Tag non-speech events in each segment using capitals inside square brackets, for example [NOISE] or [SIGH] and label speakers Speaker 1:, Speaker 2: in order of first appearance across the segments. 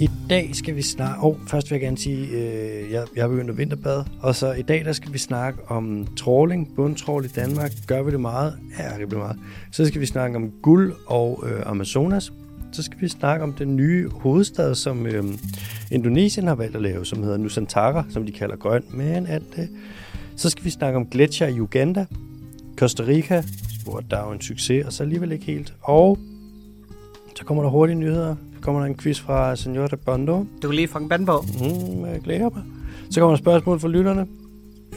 Speaker 1: I dag skal vi snakke... Og oh, først vil jeg gerne sige, øh, jeg, jeg er begyndt at vinterbade. Og så i dag, der skal vi snakke om trawling, bundtrawl i Danmark. Gør vi det meget? Ja, det bliver meget. Så skal vi snakke om guld og øh, Amazonas. Så skal vi snakke om den nye hovedstad, som øh, Indonesien har valgt at lave, som hedder Nusantara, som de kalder grøn. Men at, øh, så skal vi snakke om gletsjer i Uganda, Costa Rica, hvor der er jo en succes, og så alligevel ikke helt. Og så kommer der hurtige nyheder. Så kommer der en quiz fra Senor de Bondo.
Speaker 2: Du kan lige fucking bande på.
Speaker 1: Mm, jeg glæder mig. Så kommer der spørgsmål fra lytterne.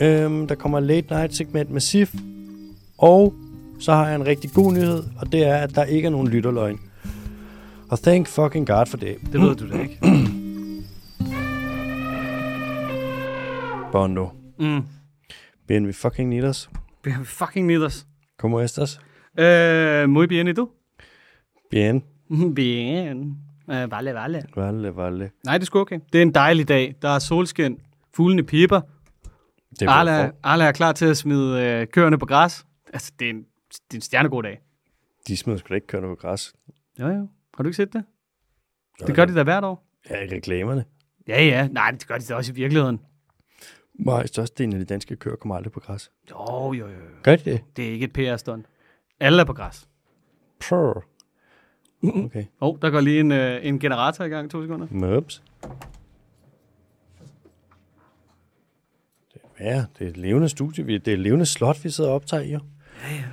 Speaker 1: Øhm, der kommer late night segment med Sif. Og så har jeg en rigtig god nyhed, og det er, at der ikke er nogen lytterløgn. Og thank fucking God for det.
Speaker 2: Det ved du da ikke.
Speaker 1: Bondo,
Speaker 2: Mm.
Speaker 1: Ben, we fucking need us.
Speaker 2: Vi har fucking need os.
Speaker 1: Como estas?
Speaker 2: Øh, muy bien, y du?
Speaker 1: Bien.
Speaker 2: [LAUGHS] Bien. Øh, vale, vale.
Speaker 1: Valle, valle.
Speaker 2: Nej, det er sgu okay. Det er en dejlig dag. Der er solskin. Fuglene piper.
Speaker 1: Det er
Speaker 2: Arla, Arla er klar til at smide øh, køerne på græs. Altså, det er en, det er en stjernegod dag.
Speaker 1: De smider sgu da ikke kørende på græs.
Speaker 2: Jo, jo. Har du ikke set det? Det gør de da hvert år.
Speaker 1: Ja, i reklamerne.
Speaker 2: Ja, ja. Nej, det gør de da også i virkeligheden.
Speaker 1: Nej, størstedelen af de danske køer kommer aldrig på græs.
Speaker 2: Jo, jo, jo.
Speaker 1: Gør de det?
Speaker 2: Det er ikke et PR-stund. Alle er på græs.
Speaker 1: Prr. Okay.
Speaker 2: Åh, oh, der går lige en, øh, en generator i gang. To sekunder.
Speaker 1: Møbs. Ja, det er et levende studie. vi- Det er et levende slot, vi sidder og optager i. Ja, ja.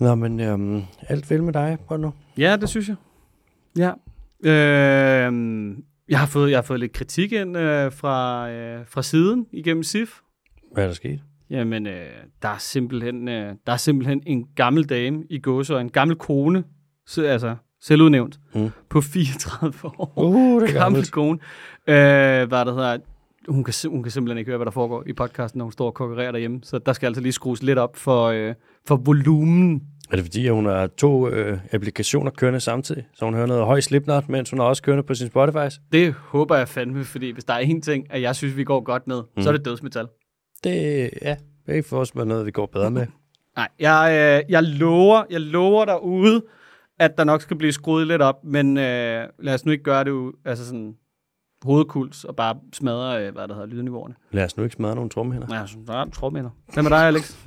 Speaker 1: Nå, men øhm, alt vel med dig, Bruno?
Speaker 2: Ja, det synes jeg. Ja. Øhm, jeg, har fået, jeg har fået lidt kritik ind øh, fra, øh, fra siden igennem SIF.
Speaker 1: Hvad er der sket?
Speaker 2: Jamen, øh, der, er simpelthen, øh, der er simpelthen en gammel dame i gåsøj, en gammel kone, så, altså selvudnævnt,
Speaker 1: Mm.
Speaker 2: mm. på 34 år.
Speaker 1: Uh, [LAUGHS] det er
Speaker 2: gammel
Speaker 1: gammelt.
Speaker 2: kone. Øh, hvad det hedder, hun kan, sim- hun kan simpelthen ikke høre, hvad der foregår i podcasten, når hun står og konkurrerer derhjemme. Så der skal altså lige skrues lidt op for, øh, for volumen.
Speaker 1: Er det fordi, at hun har to øh, applikationer kørende samtidig? Så hun hører noget høj slipnot, mens hun er også kørende på sin Spotify?
Speaker 2: Det håber jeg fandme, fordi hvis der er en ting, at jeg synes, vi går godt med, mm. så er det dødsmetal.
Speaker 1: Det, ja, det er ikke for os med noget, vi går bedre [LAUGHS] med.
Speaker 2: Nej, jeg, øh, jeg, lover, jeg lover derude, at der nok skal blive skruet lidt op, men øh, lad os nu ikke gøre det u- altså sådan hovedkuls og bare smadre, øh, hvad der hedder, lydniveauerne.
Speaker 1: Lad os nu ikke smadre nogle trumhinder.
Speaker 2: Ja, sådan, der er tromminder. Hvad med dig, Alex?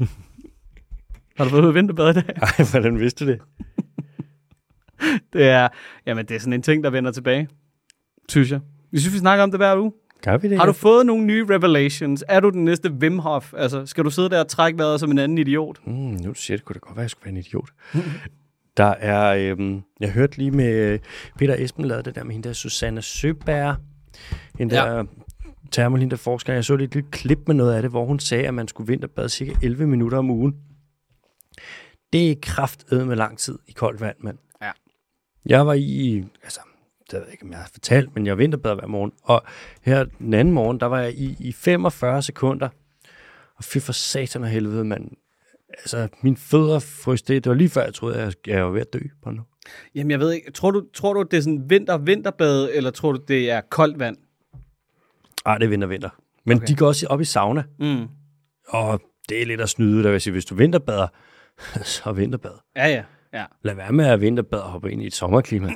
Speaker 2: Har du været ude at vinterbade i dag? [LAUGHS]
Speaker 1: Ej, hvordan vidste du det?
Speaker 2: Det er, jamen, det er sådan en ting, der vender tilbage, synes jeg. Vi synes, vi snakker om det hver uge.
Speaker 1: Gør vi det?
Speaker 2: Har du fået nogle nye revelations? Er du den næste Wim Hof? Altså, skal du sidde der og trække vejret som en anden idiot?
Speaker 1: Mm, nu du siger det, kunne det godt være, at jeg skulle være en idiot. [LAUGHS] Der er, øhm, jeg hørte lige med øh, Peter Esben lavede det der med hende der Susanne Søberg, hende
Speaker 2: Ja.
Speaker 1: ja. der termolin, der forsker. Jeg så lige et lille klip med noget af det, hvor hun sagde, at man skulle vinterbade cirka 11 minutter om ugen. Det er kraftedeme med lang tid i koldt vand, mand.
Speaker 2: Ja.
Speaker 1: Jeg var i, altså, det ved jeg ikke, om jeg har fortalt, men jeg vinterbad hver morgen. Og her den anden morgen, der var jeg i, i 45 sekunder. Og fy for satan og helvede, mand. Altså, mine fødder fryste. Det var lige før, jeg troede, at jeg, jeg var ved at dø på nu.
Speaker 2: Jamen, jeg ved ikke. Tror du, tror du det er sådan vinter-vinterbade, eller tror du, det er koldt vand?
Speaker 1: Ej, Ah, det er vinter, vinter. Men okay. de går også op i sauna.
Speaker 2: Mm.
Speaker 1: Og det er lidt at snyde, der vil jeg sige, hvis du vinterbader, [LAUGHS] så vinterbad.
Speaker 2: Ja, ja, ja.
Speaker 1: Lad være med at vinterbade og hoppe ind i et [CLEARS THROAT] sommerklima.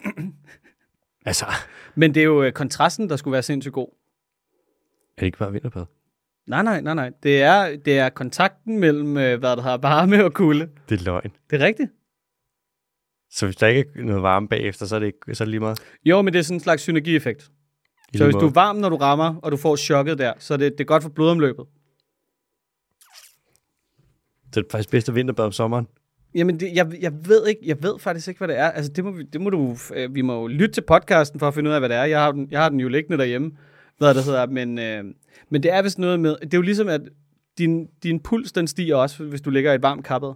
Speaker 1: altså,
Speaker 2: Men det er jo øh, kontrasten, der skulle være sindssygt god.
Speaker 1: er det ikke bare vinterbad?
Speaker 2: Nej, nej, nej, nej. Det er, det er kontakten mellem, øh, hvad der har varme og kulde.
Speaker 1: Det er løgn.
Speaker 2: Det er rigtigt.
Speaker 1: Så hvis der ikke er noget varme bagefter, så er det, ikke, så er det lige meget.
Speaker 2: Jo, men det er sådan en slags synergieffekt.
Speaker 1: I
Speaker 2: Så
Speaker 1: lige
Speaker 2: hvis du
Speaker 1: måde.
Speaker 2: er varm, når du rammer, og du får chokket der, så er det, det er godt for blodomløbet.
Speaker 1: Så er det faktisk bedst at vinterbade om sommeren.
Speaker 2: Jamen, det, jeg, jeg, ved ikke, jeg ved faktisk ikke, hvad det er. Altså, det må, vi- det må du, øh, vi må jo lytte til podcasten for at finde ud af, hvad det er. Jeg har, den, jeg har den jo liggende derhjemme, hvad det hedder. Men, øh, men det er vist noget med, det er jo ligesom, at din, din puls, den stiger også, hvis du ligger i et varmt kappet.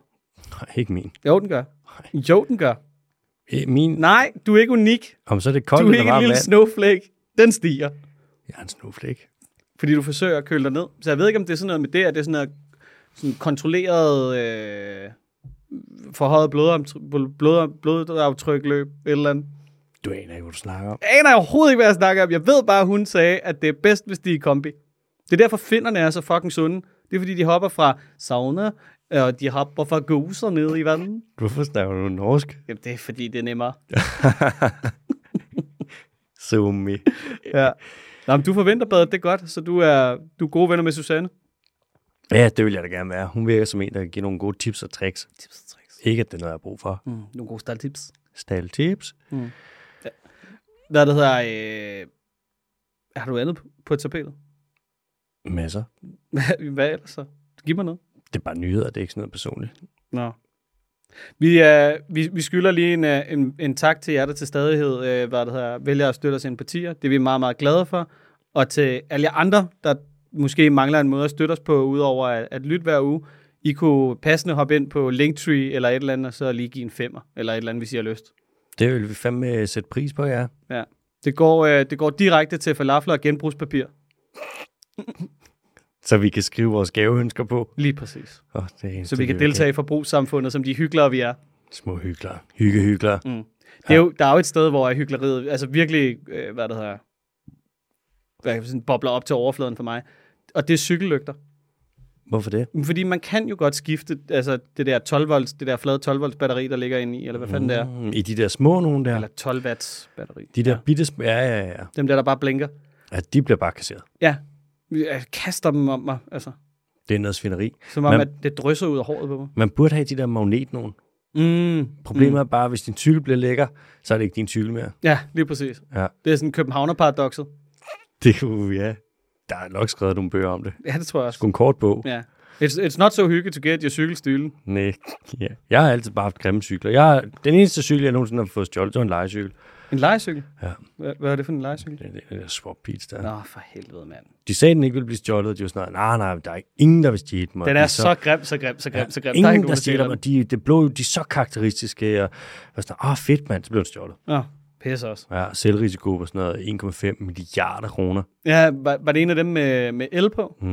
Speaker 1: Nej, ikke min.
Speaker 2: Jo, den gør. Jo, den gør.
Speaker 1: Øh, Min,
Speaker 2: Nej, du er ikke unik.
Speaker 1: om så er det
Speaker 2: Du
Speaker 1: koldt
Speaker 2: er
Speaker 1: eller
Speaker 2: ikke en
Speaker 1: varmt
Speaker 2: lille
Speaker 1: vand.
Speaker 2: snowflake. Den stiger,
Speaker 1: Jeg er en snowflake.
Speaker 2: fordi du forsøger at køle dig ned. Så jeg ved ikke, om det er sådan noget med det, at det er sådan noget sådan kontrolleret øh, forhøjet blodomtr- blod, blod, blodaftrykløb, et eller andet.
Speaker 1: Du aner ikke, hvad du snakker om.
Speaker 2: aner jeg overhovedet ikke, hvad jeg snakker om. Jeg ved bare, at hun sagde, at det er bedst, hvis de er i kombi. Det er derfor, finderne er så fucking sunde. Det er fordi, de hopper fra sauna, og de hopper fra goser ned i vandet.
Speaker 1: Hvorfor snakker du norsk?
Speaker 2: Jamen, det er fordi, det er nemmere.
Speaker 1: So me.
Speaker 2: Ja. Nå, men du forventer badet, det er godt, så du er, du er gode venner med Susanne.
Speaker 1: Ja, det vil jeg da gerne være. Hun virker som en, der kan give nogle gode tips og tricks.
Speaker 2: Tips og tricks.
Speaker 1: Ikke, at det er noget, jeg har brug for.
Speaker 2: Mm, nogle gode staldtips.
Speaker 1: Stal tips.
Speaker 2: Hvad det hedder, øh, har du andet på tapetet? [LAUGHS]
Speaker 1: Masser.
Speaker 2: Hvad, hvad ellers så? Giv mig noget.
Speaker 1: Det er bare nyheder, det er ikke sådan noget personligt.
Speaker 2: Nå. Vi, øh, vi, vi skylder lige en, øh, en, en tak til jer, der til stadighed øh, hvad det hedder, vælger at støtte os ind partier. Det er vi meget, meget glade for. Og til alle jer andre, der måske mangler en måde at støtte os på, udover at, at lytte hver uge. I kunne passende hoppe ind på Linktree eller et eller andet, og så lige give en femmer, eller et eller andet, hvis I har lyst.
Speaker 1: Det vil vi fandme øh, sætte pris på, ja.
Speaker 2: Ja. Det går, øh, det går direkte til falafler og genbrugspapir.
Speaker 1: Så vi kan skrive vores gaveønsker på.
Speaker 2: Lige præcis.
Speaker 1: Oh, det er
Speaker 2: Så vi kan deltage i forbrugssamfundet, som de hyggelere vi er.
Speaker 1: Små hyggelere. Hygge hyggelere. Mm.
Speaker 2: Det er jo, der er jo et sted, hvor hyggeleriet altså virkelig, øh, hvad det hedder, hvad kan jeg sige, bobler op til overfladen for mig. Og det er cykellygter.
Speaker 1: Hvorfor det?
Speaker 2: Fordi man kan jo godt skifte altså det der 12 volts, det der flade 12 volts batteri, der ligger inde i, eller hvad fanden det er.
Speaker 1: Mm, I de der små nogen der.
Speaker 2: Eller 12 watts batteri.
Speaker 1: De der ja. bitte sm- ja, ja, ja,
Speaker 2: Dem der, der bare blinker.
Speaker 1: ja. De bliver bare kasseret.
Speaker 2: Ja, jeg kaster dem om mig, altså.
Speaker 1: Det er noget svineri.
Speaker 2: Som om,
Speaker 1: Man-
Speaker 2: at det drysser ud af håret på mig.
Speaker 1: Man burde have de der magnet nogen.
Speaker 2: Mm.
Speaker 1: Problemet mm. er bare, hvis din cykel bliver lækker, så er det ikke din cykel mere.
Speaker 2: Ja, lige præcis.
Speaker 1: Ja.
Speaker 2: Det er sådan Københavner-paradoxet.
Speaker 1: Det kunne, ja. Der er nok skrevet nogle bøger om det.
Speaker 2: Ja, det tror jeg også.
Speaker 1: Sgu en kort bog.
Speaker 2: Ja. It's, it's not so hygge to get your cykelstyle.
Speaker 1: Nej. Ja. Jeg har altid bare haft grimme cykler. Jeg har, den eneste cykel, jeg nogensinde har fået stjålet, det var en legecykel.
Speaker 2: En legecykel?
Speaker 1: Ja.
Speaker 2: Hvad, hvad er det for en legecykel?
Speaker 1: Den, den der swap beats der.
Speaker 2: Nå, for helvede, mand.
Speaker 1: De sagde, den ikke ville blive stjålet, og de var sådan, nej, nej, der er ingen, der vil stjæle mig.
Speaker 2: Den
Speaker 1: De
Speaker 2: er så grim, så grim, så grim, så grim.
Speaker 1: Ingen, der,
Speaker 2: er
Speaker 1: der
Speaker 2: ikke nogen,
Speaker 1: stjæler, dem, og de, det blå, de er så karakteristiske, og jeg var sådan, ah, fedt mand, så blev den stjålet.
Speaker 2: Nå, pisse også.
Speaker 1: Ja, selvrisiko på sådan noget 1,5 milliarder kroner.
Speaker 2: Ja, var, var det en af dem med, med el på?
Speaker 1: Mm.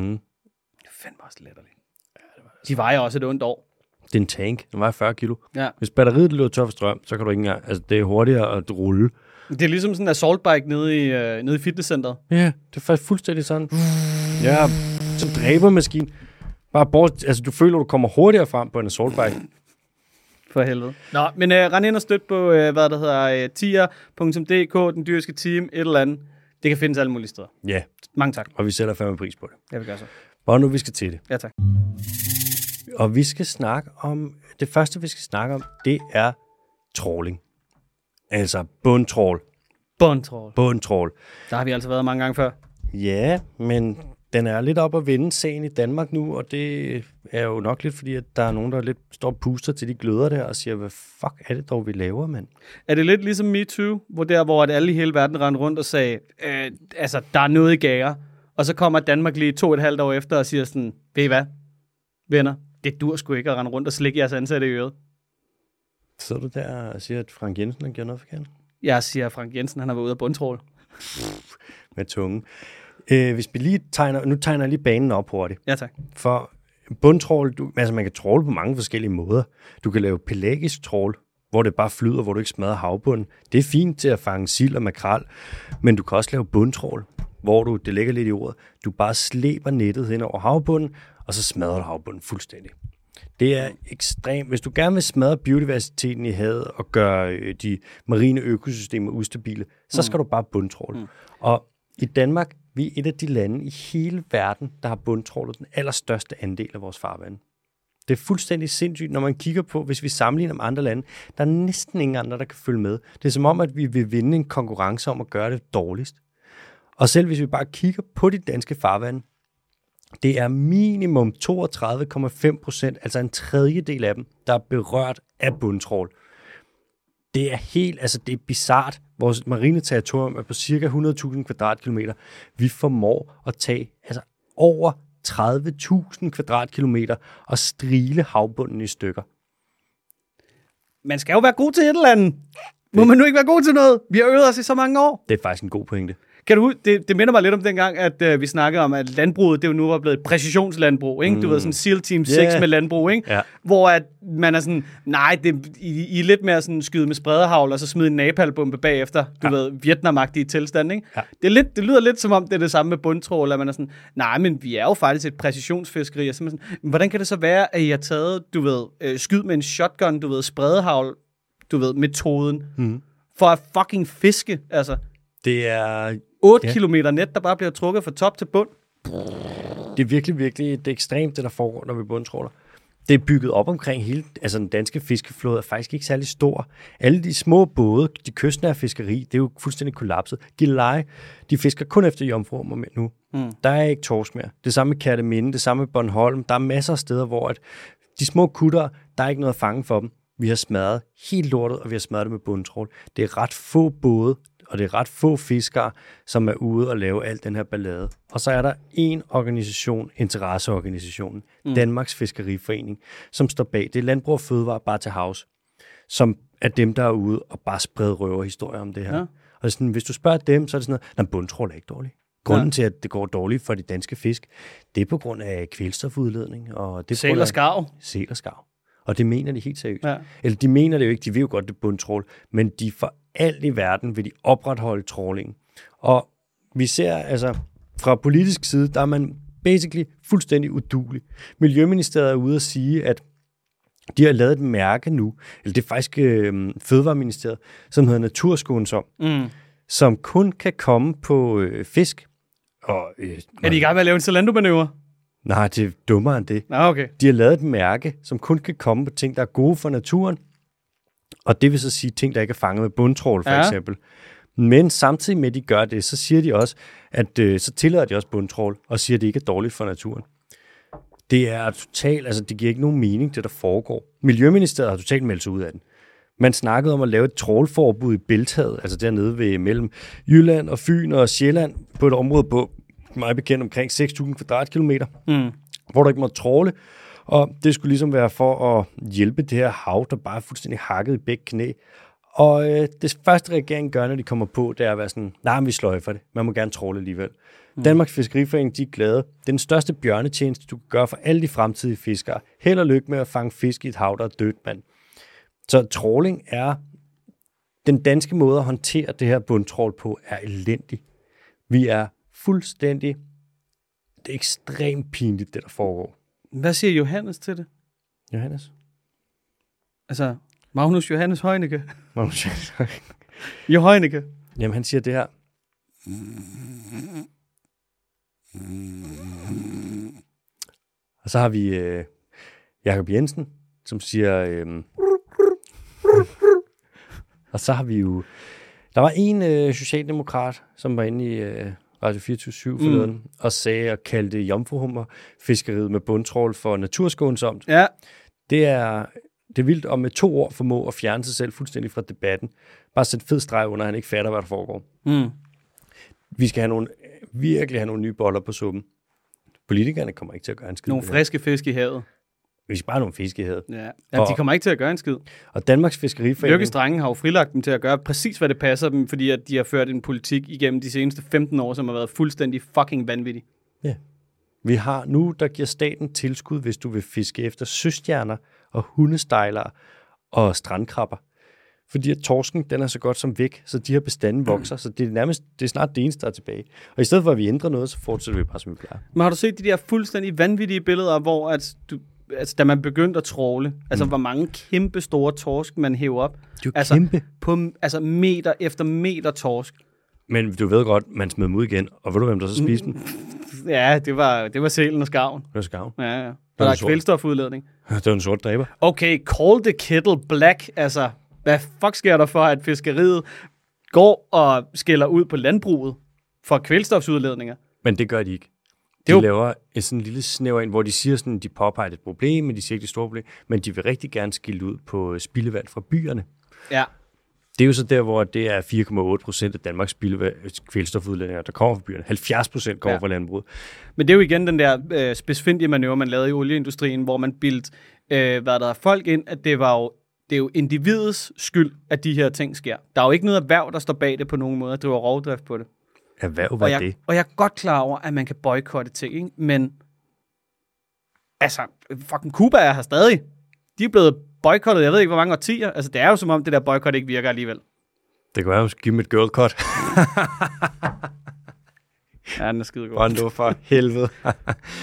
Speaker 2: Det fandt også letterligt. De vejer også et ondt år.
Speaker 1: Det er en tank, den vejer 40 kilo.
Speaker 2: Ja.
Speaker 1: Hvis batteriet løber tør for strøm, så kan du ikke engang, altså det er hurtigere at rulle.
Speaker 2: Det er ligesom sådan en assaultbike nede i, øh, nede i fitnesscenteret.
Speaker 1: Ja, det er faktisk fuldstændig sådan. Ja, som dræbermaskine. Bare bort, altså du føler, du kommer hurtigere frem på en assaultbike.
Speaker 2: For helvede. Nå, men øh, rend ind og støt på, øh, hvad der hedder, øh, tier.dk, den dyrske team, et eller andet. Det kan findes alle mulige steder.
Speaker 1: Ja,
Speaker 2: Mange tak.
Speaker 1: og vi sætter fandme pris på det.
Speaker 2: Jeg vil gøre så.
Speaker 1: Og nu vi skal til det.
Speaker 2: Ja, tak.
Speaker 1: Og vi skal snakke om, det første vi skal snakke om, det er trawling. Altså bundtrawl,
Speaker 2: Bundtrål.
Speaker 1: bundtrawl.
Speaker 2: Der har vi altså været mange gange før.
Speaker 1: Ja, men den er lidt op at vende sagen i Danmark nu, og det er jo nok lidt fordi, at der er nogen, der lidt står og puster til de gløder der og siger, hvad fuck er det dog, vi laver, mand?
Speaker 2: Er det lidt ligesom MeToo, hvor der, hvor at alle i hele verden rendte rundt og sagde, øh, altså, der er noget i gager. Og så kommer Danmark lige to og et halvt år efter og siger sådan, ved I hvad, venner, det dur sgu ikke at rende rundt og slikke jeres ansatte i øret.
Speaker 1: Sidder du der og siger, at Frank Jensen har gjort noget forkert?
Speaker 2: Jeg siger, Frank Jensen, han har været ude af bundtrål.
Speaker 1: Med tungen. Øh, hvis vi lige tegner, nu tegner jeg lige banen op hurtigt.
Speaker 2: Ja, tak.
Speaker 1: For bundtrål, du, altså man kan tråle på mange forskellige måder. Du kan lave pelagisk trål, hvor det bare flyder, hvor du ikke smadrer havbunden. Det er fint til at fange sild og makrel, men du kan også lave bundtrål, hvor du, det ligger lidt i ordet, du bare slæber nettet hen over havbunden, og så smadrer du havbunden fuldstændig. Det er ekstremt. Hvis du gerne vil smadre biodiversiteten i havet og gøre øh, de marine økosystemer ustabile, så skal du bare bundtråle. Mm. Og i Danmark, vi er et af de lande i hele verden, der har bundtrålet den allerstørste andel af vores farvand. Det er fuldstændig sindssygt, når man kigger på, hvis vi sammenligner med andre lande, der er næsten ingen andre, der kan følge med. Det er som om, at vi vil vinde en konkurrence om at gøre det dårligst. Og selv hvis vi bare kigger på de danske farvande, det er minimum 32,5 procent, altså en tredjedel af dem, der er berørt af bundtrål. Det er helt, altså det er bizart. Vores marine territorium er på cirka 100.000 kvadratkilometer. Vi formår at tage altså over 30.000 kvadratkilometer og strile havbunden i stykker.
Speaker 2: Man skal jo være god til et eller andet. Må man nu ikke være god til noget? Vi har øvet os i så mange år.
Speaker 1: Det er faktisk en god pointe.
Speaker 2: Kan du, hu- det, det minder mig lidt om dengang, at øh, vi snakkede om, at landbruget det jo nu var blevet et præcisionslandbrug. Ikke? Mm. Du ved, sådan SEAL Team 6
Speaker 1: Ja.
Speaker 2: yeah. med landbrug. Ikke?
Speaker 1: Ja.
Speaker 2: Hvor at man er sådan, nej, det, I, I er lidt mere sådan skyde med spredehavl, og så smide en napalbombe bagefter. Du ja. ved, vietnamagtige tilstand. Ikke?
Speaker 1: Ja.
Speaker 2: Det, er lidt, det lyder lidt som om, det er det samme med bundtrål, at man er sådan, nej, men vi er jo faktisk et præcisionsfiskeri. Og så er man sådan, "Men hvordan kan det så være, at I har taget, du ved, øh, skyd med en shotgun, du ved, spredehavl, du ved, metoden, mm. for at fucking fiske, altså.
Speaker 1: Det er
Speaker 2: 8
Speaker 1: Ja.
Speaker 2: ja. kilometer net, der bare bliver trukket fra top til bund.
Speaker 1: det er virkelig, virkelig det er ekstremt, det der foregår, når vi bundtråler. Det er bygget op omkring hele, altså den danske fiskeflåde er faktisk ikke særlig stor. Alle de små både, de kystnære fiskeri, det er jo fuldstændig kollapset. Gilleleje, de fisker kun efter jomfruer med nu. Mm. Der er ikke tors mere. Det samme med Katteminde, det samme med Bornholm. Der er masser af steder, hvor at de små kutter, der er ikke noget at fange for dem. Vi har smadret helt lortet, og vi har smadret det med bundtrål. Det er ret få både, og det er ret få fiskere, som er ude og lave al den her ballade. Og så er der en organisation, interesseorganisationen, mm. Danmarks Fiskeriforening, som står bag. Det er Landbrug og Fødevare bare til havs, som er dem, der er ude og bare spreder røverhistorier om det her. Ja.
Speaker 2: Ja.
Speaker 1: Og sådan, hvis du spørger dem, så er det sådan noget, at bundtrål er ikke dårligt. Grunden ja. til, at det går dårligt for de danske fisk, det er på grund af kvælstofudledning. Og det er på grund
Speaker 2: Sæl
Speaker 1: af-
Speaker 2: og skarv.
Speaker 1: sæl og skarv. Og det mener de helt seriøst. Ja.
Speaker 2: Ja.
Speaker 1: Eller de mener det jo ikke, de vil jo godt det bundtrål, men de for alt i verden vil de opretholde trålingen. Og vi ser altså, fra politisk side, der er man basically fuldstændig udulig. Miljøministeriet er ude at sige, at de har lavet et mærke nu, eller det er faktisk øh, Fødevareministeriet, som hedder Naturskånsom,
Speaker 2: Mm.
Speaker 1: som kun kan komme på øh, fisk. Og, øh,
Speaker 2: Er de i gang med at lave en Zalando-manøvre?
Speaker 1: nej, det er dummere end det.
Speaker 2: Nå, okay.
Speaker 1: De har lavet et mærke, som kun kan komme på ting, der er gode for naturen. Og det vil så sige ting, der ikke er fanget med bundtrål, for ja.
Speaker 2: Ja.
Speaker 1: eksempel. Men samtidig med, at de gør det, så siger de også, at øh, så tillader de også bundtrål, og siger, at det ikke er dårligt for naturen. Det er totalt, altså det giver ikke nogen mening, det der foregår. Miljøministeriet har totalt meldt sig ud af den. Man snakkede om at lave et trålforbud i Bælthavet, altså dernede ved mellem Jylland og Fyn og Sjælland, på et område på, meget bekendt, omkring 6.000 kvadratkilometer
Speaker 2: Mm.
Speaker 1: hvor du ikke må tråle. Og det skulle ligesom være for at hjælpe det her hav, der bare er fuldstændig hakket i begge knæ. Og øh, det første regeringen gør, når de kommer på, det er at være sådan, nej, men vi sløjfer det. Man må gerne tråle alligevel. Mm. Danmarks Fiskeriforening, de er glade. Det er den største bjørnetjeneste, du kan gøre for alle de fremtidige fiskere. Held og lykke med at fange fisk i et hav, der er dødt, mand. Så tråling er... Den danske måde at håndtere det her bundtrål på er elendig. Vi er fuldstændig... Det er ekstremt pinligt, det der foregår.
Speaker 2: Hvad siger Johannes til det?
Speaker 1: Johannes?
Speaker 2: Altså, Magnus Johannes Heunicke. [LAUGHS]
Speaker 1: Magnus Jackson.
Speaker 2: Jo Heunicke.
Speaker 1: Jamen, han siger det her. Og så har vi øh, Jakob Jensen, som siger... Øh, og så har vi jo... Der var en øh, socialdemokrat, som var inde i øh, Radio 24 forleden, mm. og sagde og kaldte jomfruhummer fiskeriet med bundtrål for naturskånsomt.
Speaker 2: Ja,
Speaker 1: Det er, det er vildt at med to år formå at fjerne sig selv fuldstændig fra debatten. Bare sætte fed streg under, at han ikke fatter, hvad der foregår.
Speaker 2: Mm.
Speaker 1: Vi skal have nogle, virkelig have nogle nye boller på suppen. Politikerne kommer ikke til at gøre en skid.
Speaker 2: nogle
Speaker 1: med det.
Speaker 2: friske fisk i havet.
Speaker 1: Vi skal bare have nogle fisk i havet.
Speaker 2: Ja. ja de
Speaker 1: Og-
Speaker 2: kommer ikke til at gøre en skid.
Speaker 1: Og Danmarks Fiskeriforening...
Speaker 2: Lykkes drengen har jo frilagt dem til at gøre præcis, hvad det passer dem, fordi at de har ført en politik igennem de seneste 15 år, som har været fuldstændig fucking vanvittig.
Speaker 1: Vi har nu, der giver staten tilskud, hvis du vil fiske efter søstjerner og hundestejlere og strandkrabber. Fordi at torsken, den er så godt som væk, så de her bestanden vokser, så det er, nærmest, det er snart det eneste, der er tilbage. Og i stedet for, at vi ændrer noget, så fortsætter vi bare, som vi plejer.
Speaker 2: Men har du set de der fuldstændig vanvittige billeder, hvor at du, altså, da man begyndte at tråle, altså hvor mange kæmpe store torsk, man hæver op.
Speaker 1: Mm. jo
Speaker 2: altså,
Speaker 1: kæmpe.
Speaker 2: På, altså meter efter meter torsk.
Speaker 1: Men du ved godt, man smed dem ud igen, og ved du, hvem der så
Speaker 2: Mm.
Speaker 1: spiste dem? Det
Speaker 2: Ja, det var, det var sælen og skarven.
Speaker 1: var skavn.
Speaker 2: Ja, ja. Og
Speaker 1: var
Speaker 2: der er
Speaker 1: sort.
Speaker 2: kvælstofudledning.
Speaker 1: [LAUGHS] Det var en sort dræber.
Speaker 2: Okay, call the kettle black. Altså, hvad fuck sker der for, at fiskeriet går og skiller ud på landbruget for kvælstofudledninger?
Speaker 1: Men det gør de ikke. De
Speaker 2: er jo-
Speaker 1: laver et sådan en lille snæver ind, hvor de siger sådan, de påpeger et problem, men de siger ikke det store problem, men de vil rigtig gerne skille ud på øh, spildevand fra byerne.
Speaker 2: Ja.
Speaker 1: Det er jo så der, hvor det er 4,8 procent af Danmarks spildevand- øh, kvælstofudledninger, der kommer fra byerne. 70 procent kommer ja.
Speaker 2: Ja.
Speaker 1: fra landbruget.
Speaker 2: Men det er jo igen den der øh, spidsfindige manøvre, man lavede i olieindustrien, hvor man bildte, øh, hvad der er folk ind, at det var jo, det er jo individets skyld, at de her ting sker. Der er jo ikke noget erhverv, der står bag det på nogen måde og driver rovdrift på det.
Speaker 1: Erhverv var
Speaker 2: Og jeg,
Speaker 1: det.
Speaker 2: og jeg er godt klar over, at man kan boykotte ting, ikke? men altså, fucking Cuba er her stadig. De er blevet boykottet, jeg ved ikke, hvor mange årtier. Altså, det er jo som om, det der boykot ikke virker alligevel.
Speaker 1: Det kunne være, at man skulle give dem et girl cut.
Speaker 2: Ja, den er skidegod. Åh,
Speaker 1: Brando for helvede.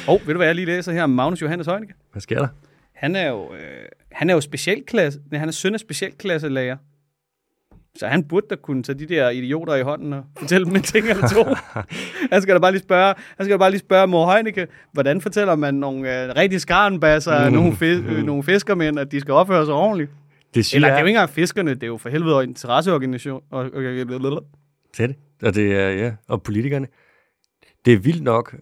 Speaker 2: oh, ved du, hvad jeg lige læser her om Magnus Johannes Heunicke?
Speaker 1: [LAUGHS] Hvad sker der?
Speaker 2: Han er jo, øh, han er jo specialklasse, nej, han er søn af specialklasselærer. Så han burde da kunne tage de der idioter i hånden og fortælle dem en ting eller [LAUGHS] to. han skal da bare lige spørge, han skal da bare lige spørge mor Heunicke, hvordan fortæller man nogle øh, rigtige skarnbasser, mm. nogle, fi- øh, nogle fiskermænd, at de skal opføre sig ordentligt?
Speaker 1: Det siger
Speaker 2: Eller det er jo
Speaker 1: jeg.
Speaker 2: ikke engang fiskerne, det er jo for helvede interesseorganisation. og- og- og- og-
Speaker 1: Det er det. Og, det er, ja. og politikerne. Det er vildt nok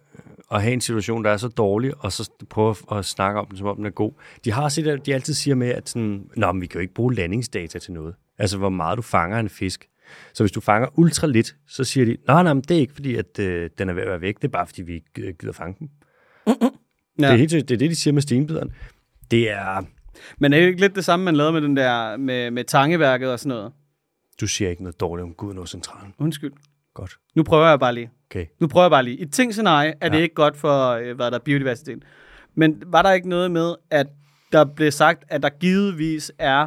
Speaker 1: at have en situation, der er så dårlig, og så prøve at, at snakke om den, som om den er god. De har set, at de altid siger med, at sådan, Nå, men vi kan jo ikke bruge landingsdata til noget. Altså, hvor meget du fanger en fisk. Så hvis du fanger ultra lidt, så siger de, nej, nej, men det er ikke fordi, at øh, den er ved at være væk. Det er bare fordi, vi ikke øh, gider fange den. Ja. Det, er
Speaker 2: Ja.
Speaker 1: helt, seriøst, det er det, de siger med stenbideren. Det er,
Speaker 2: Men er det ikke lidt det samme, man lavede med, den der, med, med tangeværket og sådan noget?
Speaker 1: du siger ikke noget dårligt om Gudenårscentralen.
Speaker 2: Undskyld.
Speaker 1: Godt.
Speaker 2: Nu prøver jeg bare lige.
Speaker 1: Okay.
Speaker 2: Nu prøver jeg bare lige. I et ting scenarie er det
Speaker 1: Ja.
Speaker 2: ikke godt for, øh, hvad der er biodiversiteten. Men var der ikke noget med, at der blev sagt, at der givetvis er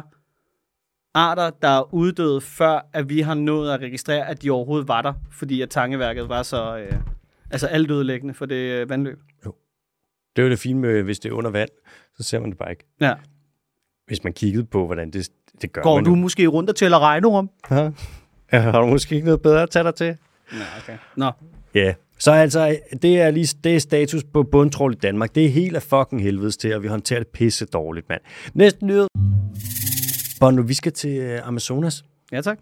Speaker 2: arter, der er uddøde, før at vi har nået at registrere, at de overhovedet var der, fordi at tangeværket var så øh, altså alt ødelæggende for det øh, vandløb.
Speaker 1: Det er jo det fine med, hvis det er under vand, så ser man det bare ikke.
Speaker 2: Ja.
Speaker 1: hvis man kiggede på, hvordan det, det gør
Speaker 2: Går
Speaker 1: man
Speaker 2: du
Speaker 1: jo.
Speaker 2: måske rundt og tæller regnorm?
Speaker 1: Ja. Ja, Har du måske ikke noget bedre at tage dig til?
Speaker 2: Nå, okay. Nå,
Speaker 1: Ja. Så altså, det er lige det er status på bundtrål i Danmark. Det er helt af fucking helvedes til, og vi håndterer det pisse dårligt, mand. Næste nyhed. Bono, vi skal til øh, Amazonas.
Speaker 2: ja tak.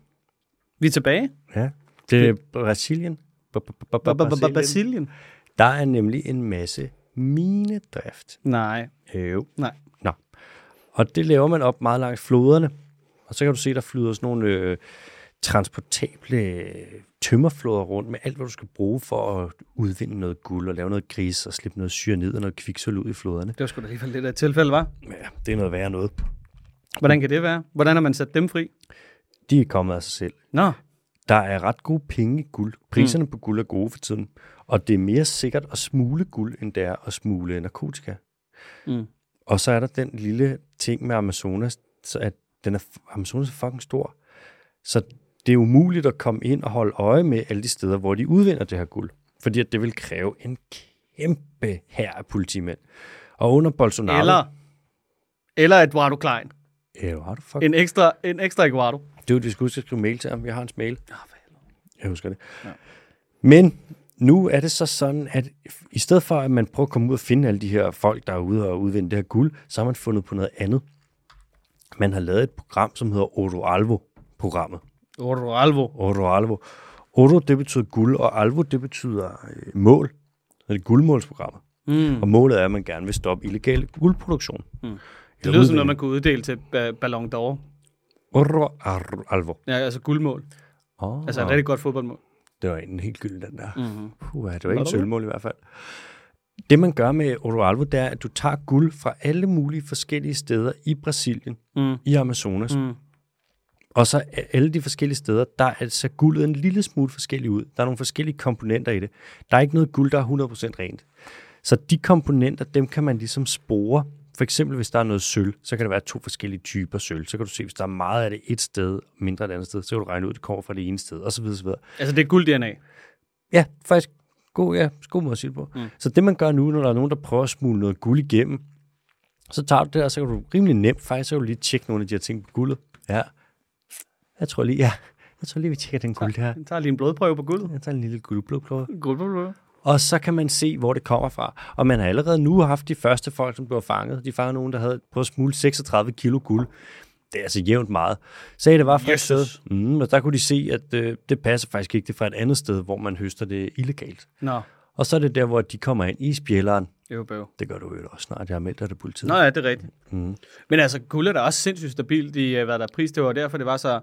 Speaker 2: Vi er tilbage.
Speaker 1: Ja. Det er Brasilien. Ba- ba- ba- ba- Brasilien.
Speaker 2: Brasilien.
Speaker 1: Der er nemlig en masse minedrift.
Speaker 2: Nej,
Speaker 1: Øh, Jo.
Speaker 2: nej.
Speaker 1: Nå. Og det laver man op meget langs floderne. Og så kan du se, der flyder sådan nogle øh, transportable øh, tømmerflåder rundt med alt, hvad du skal bruge for at udvinde noget guld og lave noget gris og slippe noget syre ned og noget kviksøl ud i floderne.
Speaker 2: Det var sgu da alligevel lidt af et tilfælde, var.
Speaker 1: Ja, det er noget værre noget.
Speaker 2: Hvordan kan det være? Hvordan har man sat dem fri?
Speaker 1: De er kommet af sig selv.
Speaker 2: Nå,
Speaker 1: Der er ret gode penge i guld. Priserne mm. på guld er gode for tiden. Og det er mere sikkert at smule guld, end det er at smule narkotika.
Speaker 2: Mm.
Speaker 1: Og så er der den lille ting med Amazonas, så at den er, Amazonas er fucking stor. Så det er umuligt at komme ind og holde øje med alle de steder, hvor de udvinder det her guld. Fordi at det vil kræve en kæmpe hær af politimænd. Og under Bolsonaro...
Speaker 2: eller, eller Eduardo Klein.
Speaker 1: Eller har du fuck?
Speaker 2: En ekstra, en ekstra Eduardo.
Speaker 1: Det er jo, vi skal huske at skrive mail til ham. Jeg har hans mail. Jeg husker det. Ja. Men nu er det så sådan, at i stedet for, at man prøver at komme ud og finde alle de her folk, der er ude og udvinde det her guld, så har man fundet på noget andet. Man har lavet et program, som hedder Oro Alvo-programmet.
Speaker 2: Eduardo Alvo.
Speaker 1: Oro Alvo. Oro, det betyder guld, og Alvo, det betyder øh, mål. Så det er guldmålsprogrammet.
Speaker 2: Mm.
Speaker 1: Og målet er, at man gerne vil stoppe illegal guldproduktion. Mm.
Speaker 2: Det lyder som noget, man kunne uddele til ba- Ballon d'Or.
Speaker 1: Oro Ar- Alvo.
Speaker 2: Ja, altså guldmål.
Speaker 1: Oh.
Speaker 2: Altså et rigtig godt fodboldmål.
Speaker 1: Det var en helt gylden, den der.
Speaker 2: Mhm.
Speaker 1: Mm-hmm. Puh, det var ikke
Speaker 2: Var
Speaker 1: en
Speaker 2: det
Speaker 1: sølvmål i hvert fald. Det, man gør med Oro Alvo, det er, at du tager guld fra alle mulige forskellige steder i Brasilien,
Speaker 2: Mm.
Speaker 1: i Amazonas.
Speaker 2: Mm.
Speaker 1: Og så er alle de forskellige steder, der er altså guldet en lille smule forskelligt ud. Der er nogle forskellige komponenter i det. Der er ikke noget guld, der er 100% rent. Så de komponenter, dem kan man ligesom spore. For eksempel, hvis der er noget sølv, så kan der være to forskellige typer sølv. Så kan du se, hvis der er meget af det et sted, mindre af det andet sted, så kan du regne ud, at det kommer fra det ene sted, osv. osv.
Speaker 2: Altså det er guld-DNA.
Speaker 1: Ja, faktisk god, ja, god måde at sige det på. Mm. Så det man gør nu, når der er nogen, der prøver at smule noget guld igennem, så tager du det, og så kan du rimelig nemt, faktisk så kan du lige tjekke nogle af de her ting på guldet. Ja, jeg tror lige, ja. Jeg tror lige, vi tjekker den guld her.
Speaker 2: Jeg tager lige en blodprøve på guldet.
Speaker 1: Jeg tager en lille guldblodplåde.
Speaker 2: Guldprøve.
Speaker 1: Og så kan man se, hvor det kommer fra. Og man har allerede nu haft de første folk, som blev fanget. De fangede nogen, der havde på at smule 36 kilo guld. Det er altså jævnt meget. Så det var fra et sted.
Speaker 2: Jesus.
Speaker 1: Mm, og der kunne de se, at øh, det passer faktisk ikke. Det er fra et andet sted, hvor man høster det illegalt.
Speaker 2: Nå,
Speaker 1: Og så er det der, hvor de kommer ind i spjælderen.
Speaker 2: det var bøv.
Speaker 1: Det gør du jo også snart. Jeg har meldt dig til politiet.
Speaker 2: Nå ja, det er rigtigt. Mm. Men altså, guld er da også sindssygt stabilt i, øh, hvad der er pris. Det var derfor, det var så,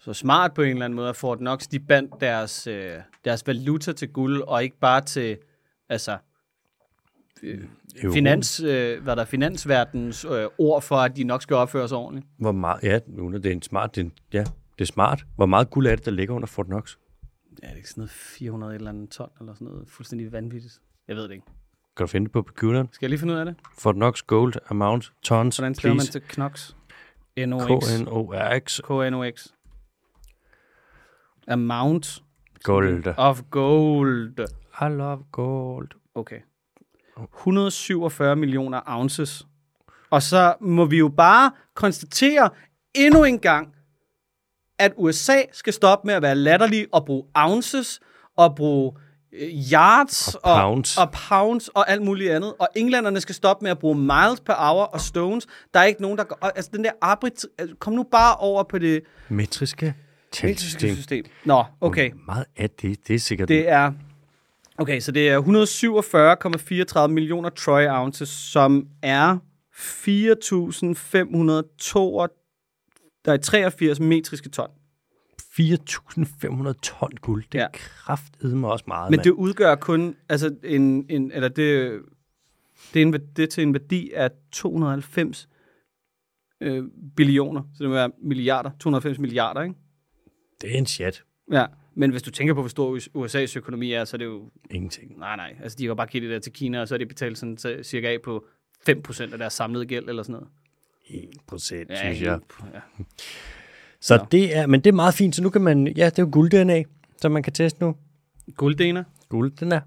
Speaker 2: så smart på en eller anden måde, at Fort Knox, de bandt deres, øh, deres valuta til guld, og ikke bare til, altså,
Speaker 1: Euro.
Speaker 2: finans, øh, hvad der er finansverdens øh, ord for, at de nok skal opføre sig ordentligt.
Speaker 1: Hvor meget, ja, nu er det en smart. Det er en, ja, det er smart. Hvor meget guld er det, der ligger under Fort Knox?
Speaker 2: Ja, det er ikke sådan noget 400 et eller andet ton eller sådan noget fuldstændig vanvittigt. Jeg ved det ikke.
Speaker 1: Kan du finde det på computeren?
Speaker 2: Skal jeg lige finde ud af det?
Speaker 1: Fort Knox Gold Amount Tons,
Speaker 2: Hvordan skriver man
Speaker 1: please.
Speaker 2: til Knox? NOX.
Speaker 1: KNOX
Speaker 2: KNOX. Amount
Speaker 1: Gold.
Speaker 2: of gold.
Speaker 1: I love gold.
Speaker 2: Okay. 147 millioner ounces. Og så må vi jo bare konstatere endnu en gang, at USA skal stoppe med at være latterlig og bruge ounces og bruge øh, yards
Speaker 1: Og pounds.
Speaker 2: Og, og pounds og alt muligt andet. Og englænderne skal stoppe med at bruge miles per hour og stones. Der er ikke nogen, der... går- og, Altså, den der arbit... altså, Kom nu bare over på det
Speaker 1: Metriske
Speaker 2: metriske
Speaker 1: talsystem.
Speaker 2: system. Nå, okay.
Speaker 1: Hvor Meget af det, det er sikkert...
Speaker 2: Det er... Okay, så det er 147,34 millioner troy ounces, som er 4.582 der er 83 metriske ton.
Speaker 1: 4.500 ton guld. Det er
Speaker 2: Ja.
Speaker 1: ja. kraftedeme også meget,
Speaker 2: Men
Speaker 1: mand.
Speaker 2: det udgør kun, altså en, en eller det, det, er en, væ- det er til en værdi af 290 øh, billioner, så det må være milliarder, 290 milliarder, ikke?
Speaker 1: det er en chat.
Speaker 2: Ja, men hvis du tænker på, hvor stor US- USA's økonomi er, så er det jo
Speaker 1: Ingenting.
Speaker 2: Nej, nej. Altså, de har bare givet det der til Kina, og så har de betalt sådan til- cirka af på 5% af deres samlede gæld eller sådan noget.
Speaker 1: 1 procent, ja, synes jeg.
Speaker 2: Ja.
Speaker 1: Så det er, men det er meget fint, så nu kan man, ja, det er jo guld-DNA, som man kan teste nu.
Speaker 2: Gulddener.
Speaker 1: Guld, den er.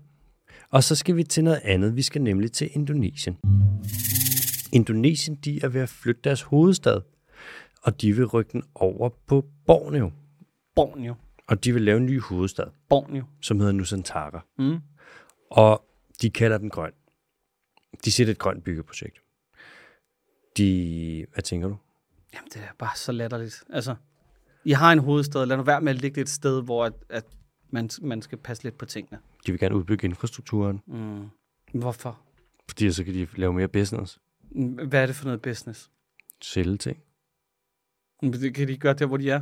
Speaker 1: Og så skal vi til noget andet. Vi skal nemlig til Indonesien. Indonesien, de er ved at flytte deres hovedstad, og de vil rykke den over på Borneo,
Speaker 2: Borneo.
Speaker 1: og de vil lave en ny hovedstad,
Speaker 2: Borneo.
Speaker 1: som hedder Nusantara.
Speaker 2: Mm.
Speaker 1: Og de kalder den grøn. De siger, det er et grønt byggeprojekt. De, hvad tænker du?
Speaker 2: Jamen, det er bare så latterligt. Altså, I har en hovedstad. Lad nu være med at ligge det et sted, hvor at, at man, man skal passe lidt på tingene.
Speaker 1: De vil gerne udbygge infrastrukturen,
Speaker 2: Mm. Hvorfor?
Speaker 1: fordi så kan de lave mere business,
Speaker 2: Mm, Hvad er det for noget business?
Speaker 1: sælge ting.
Speaker 2: Mm, det Kan de ikke gøre der, hvor de er?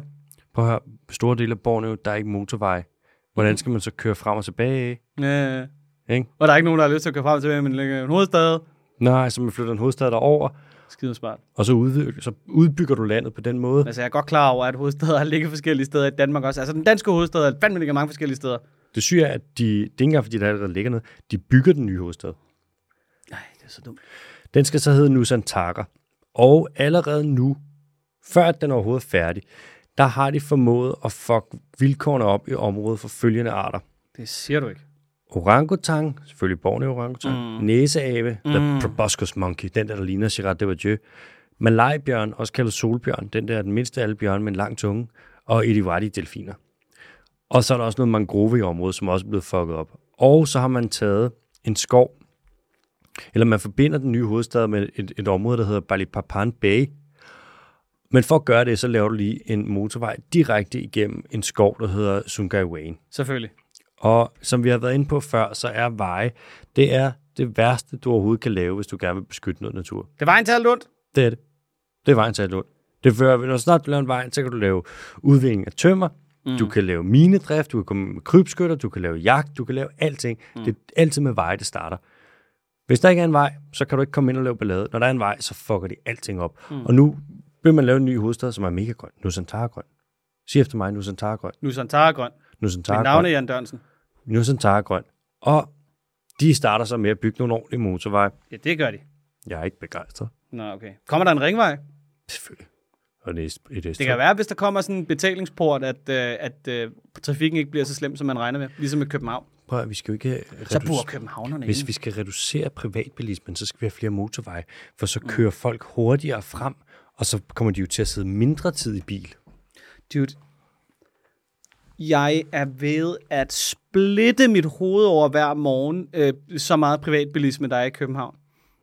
Speaker 1: Prøv at høre, store dele af Borneo, der er ikke motorveje. Hvordan skal man så køre frem og tilbage?
Speaker 2: Øh.
Speaker 1: Ikke?
Speaker 2: Og der er ikke nogen, der har lyst til at køre frem og tilbage, men lægger en hovedstad.
Speaker 1: Nej, så man flytter en hovedstad derover,
Speaker 2: Skide smart.
Speaker 1: og så, udvik- så udbygger du landet på den måde.
Speaker 2: Altså, jeg er godt klar over, at hovedsteder ligger forskellige steder i Danmark også. Altså, den danske hovedstad er fandme ligger mange forskellige steder.
Speaker 1: Det syge er, at de, det er ikke engang, fordi der, er- der ligger noget. De bygger den nye hovedstad.
Speaker 2: Nej, det er så dumt.
Speaker 1: Den skal så hedde Nusantara. Og allerede nu, før den overhovedet er færdig, der har de formået at fuck vilkårene op i området for følgende arter.
Speaker 2: Det siger du ikke.
Speaker 1: Orangutang, selvfølgelig Borneo orangutang, mm. næseave, mm. the proboscis monkey, den der, der ligner Gerard Depardieu, malajbjørn, også kaldet solbjørn, den der er den mindste af alle bjørne med en lang tunge, og iriwadi delfiner. Og så er der også noget mangrove i området, som også er blevet fucket op. Og så har man taget en skov, eller man forbinder den nye hovedstad med et, et område, der hedder Balikpapan Bay. Men for at gøre det, så laver du lige en motorvej direkte igennem en skov, der hedder Sungai Wane.
Speaker 2: Selvfølgelig.
Speaker 1: Og som vi har været inde på før, så er veje, det er det værste, du overhovedet kan lave, hvis du gerne vil beskytte noget natur.
Speaker 2: Det var en tal ondt.
Speaker 1: Det er det. Det er vejen til alt ondt. Det fører, når snart du laver en vej, så kan du lave udvinding af tømmer, mm. du kan lave minedrift, du kan komme med krybskytter, du kan lave jagt, du kan lave alting. Mm. Det er altid med veje, det starter. Hvis der ikke er en vej, så kan du ikke komme ind og lave ballade. Når der er en vej, så fucker de alting op. Mm. Og nu vil man lave en ny hovedstad, som er mega grøn. Nusantara grøn. Sig efter mig, Nusantara grøn.
Speaker 2: Nu er Santara grøn.
Speaker 1: Nusantara
Speaker 2: Mit
Speaker 1: grøn.
Speaker 2: navn er Jan Dørnsen.
Speaker 1: Nusantara Grøn. Og de starter så med at bygge nogle ordentlige motorveje.
Speaker 2: Ja, det gør de.
Speaker 1: Jeg er ikke begejstret.
Speaker 2: Nå, okay. Kommer der en ringvej?
Speaker 1: Selvfølgelig. Og det er et
Speaker 2: Det kan være, hvis der kommer sådan en betalingsport, at, øh, at øh, trafikken ikke bliver så slem, som man regner med. Ligesom i København.
Speaker 1: Prøv, at- vi skal jo ikke
Speaker 2: Så bor
Speaker 1: reducere...
Speaker 2: københavnerne
Speaker 1: Hvis
Speaker 2: Hvis
Speaker 1: vi skal reducere privatbilismen, så skal vi have flere motorveje, for så kører folk hurtigere frem, og så kommer de jo til at sidde mindre tid i bil.
Speaker 2: Dude, jeg er ved at splitte mit hoved over hver morgen, øh, så meget privatbilisme, der er i København.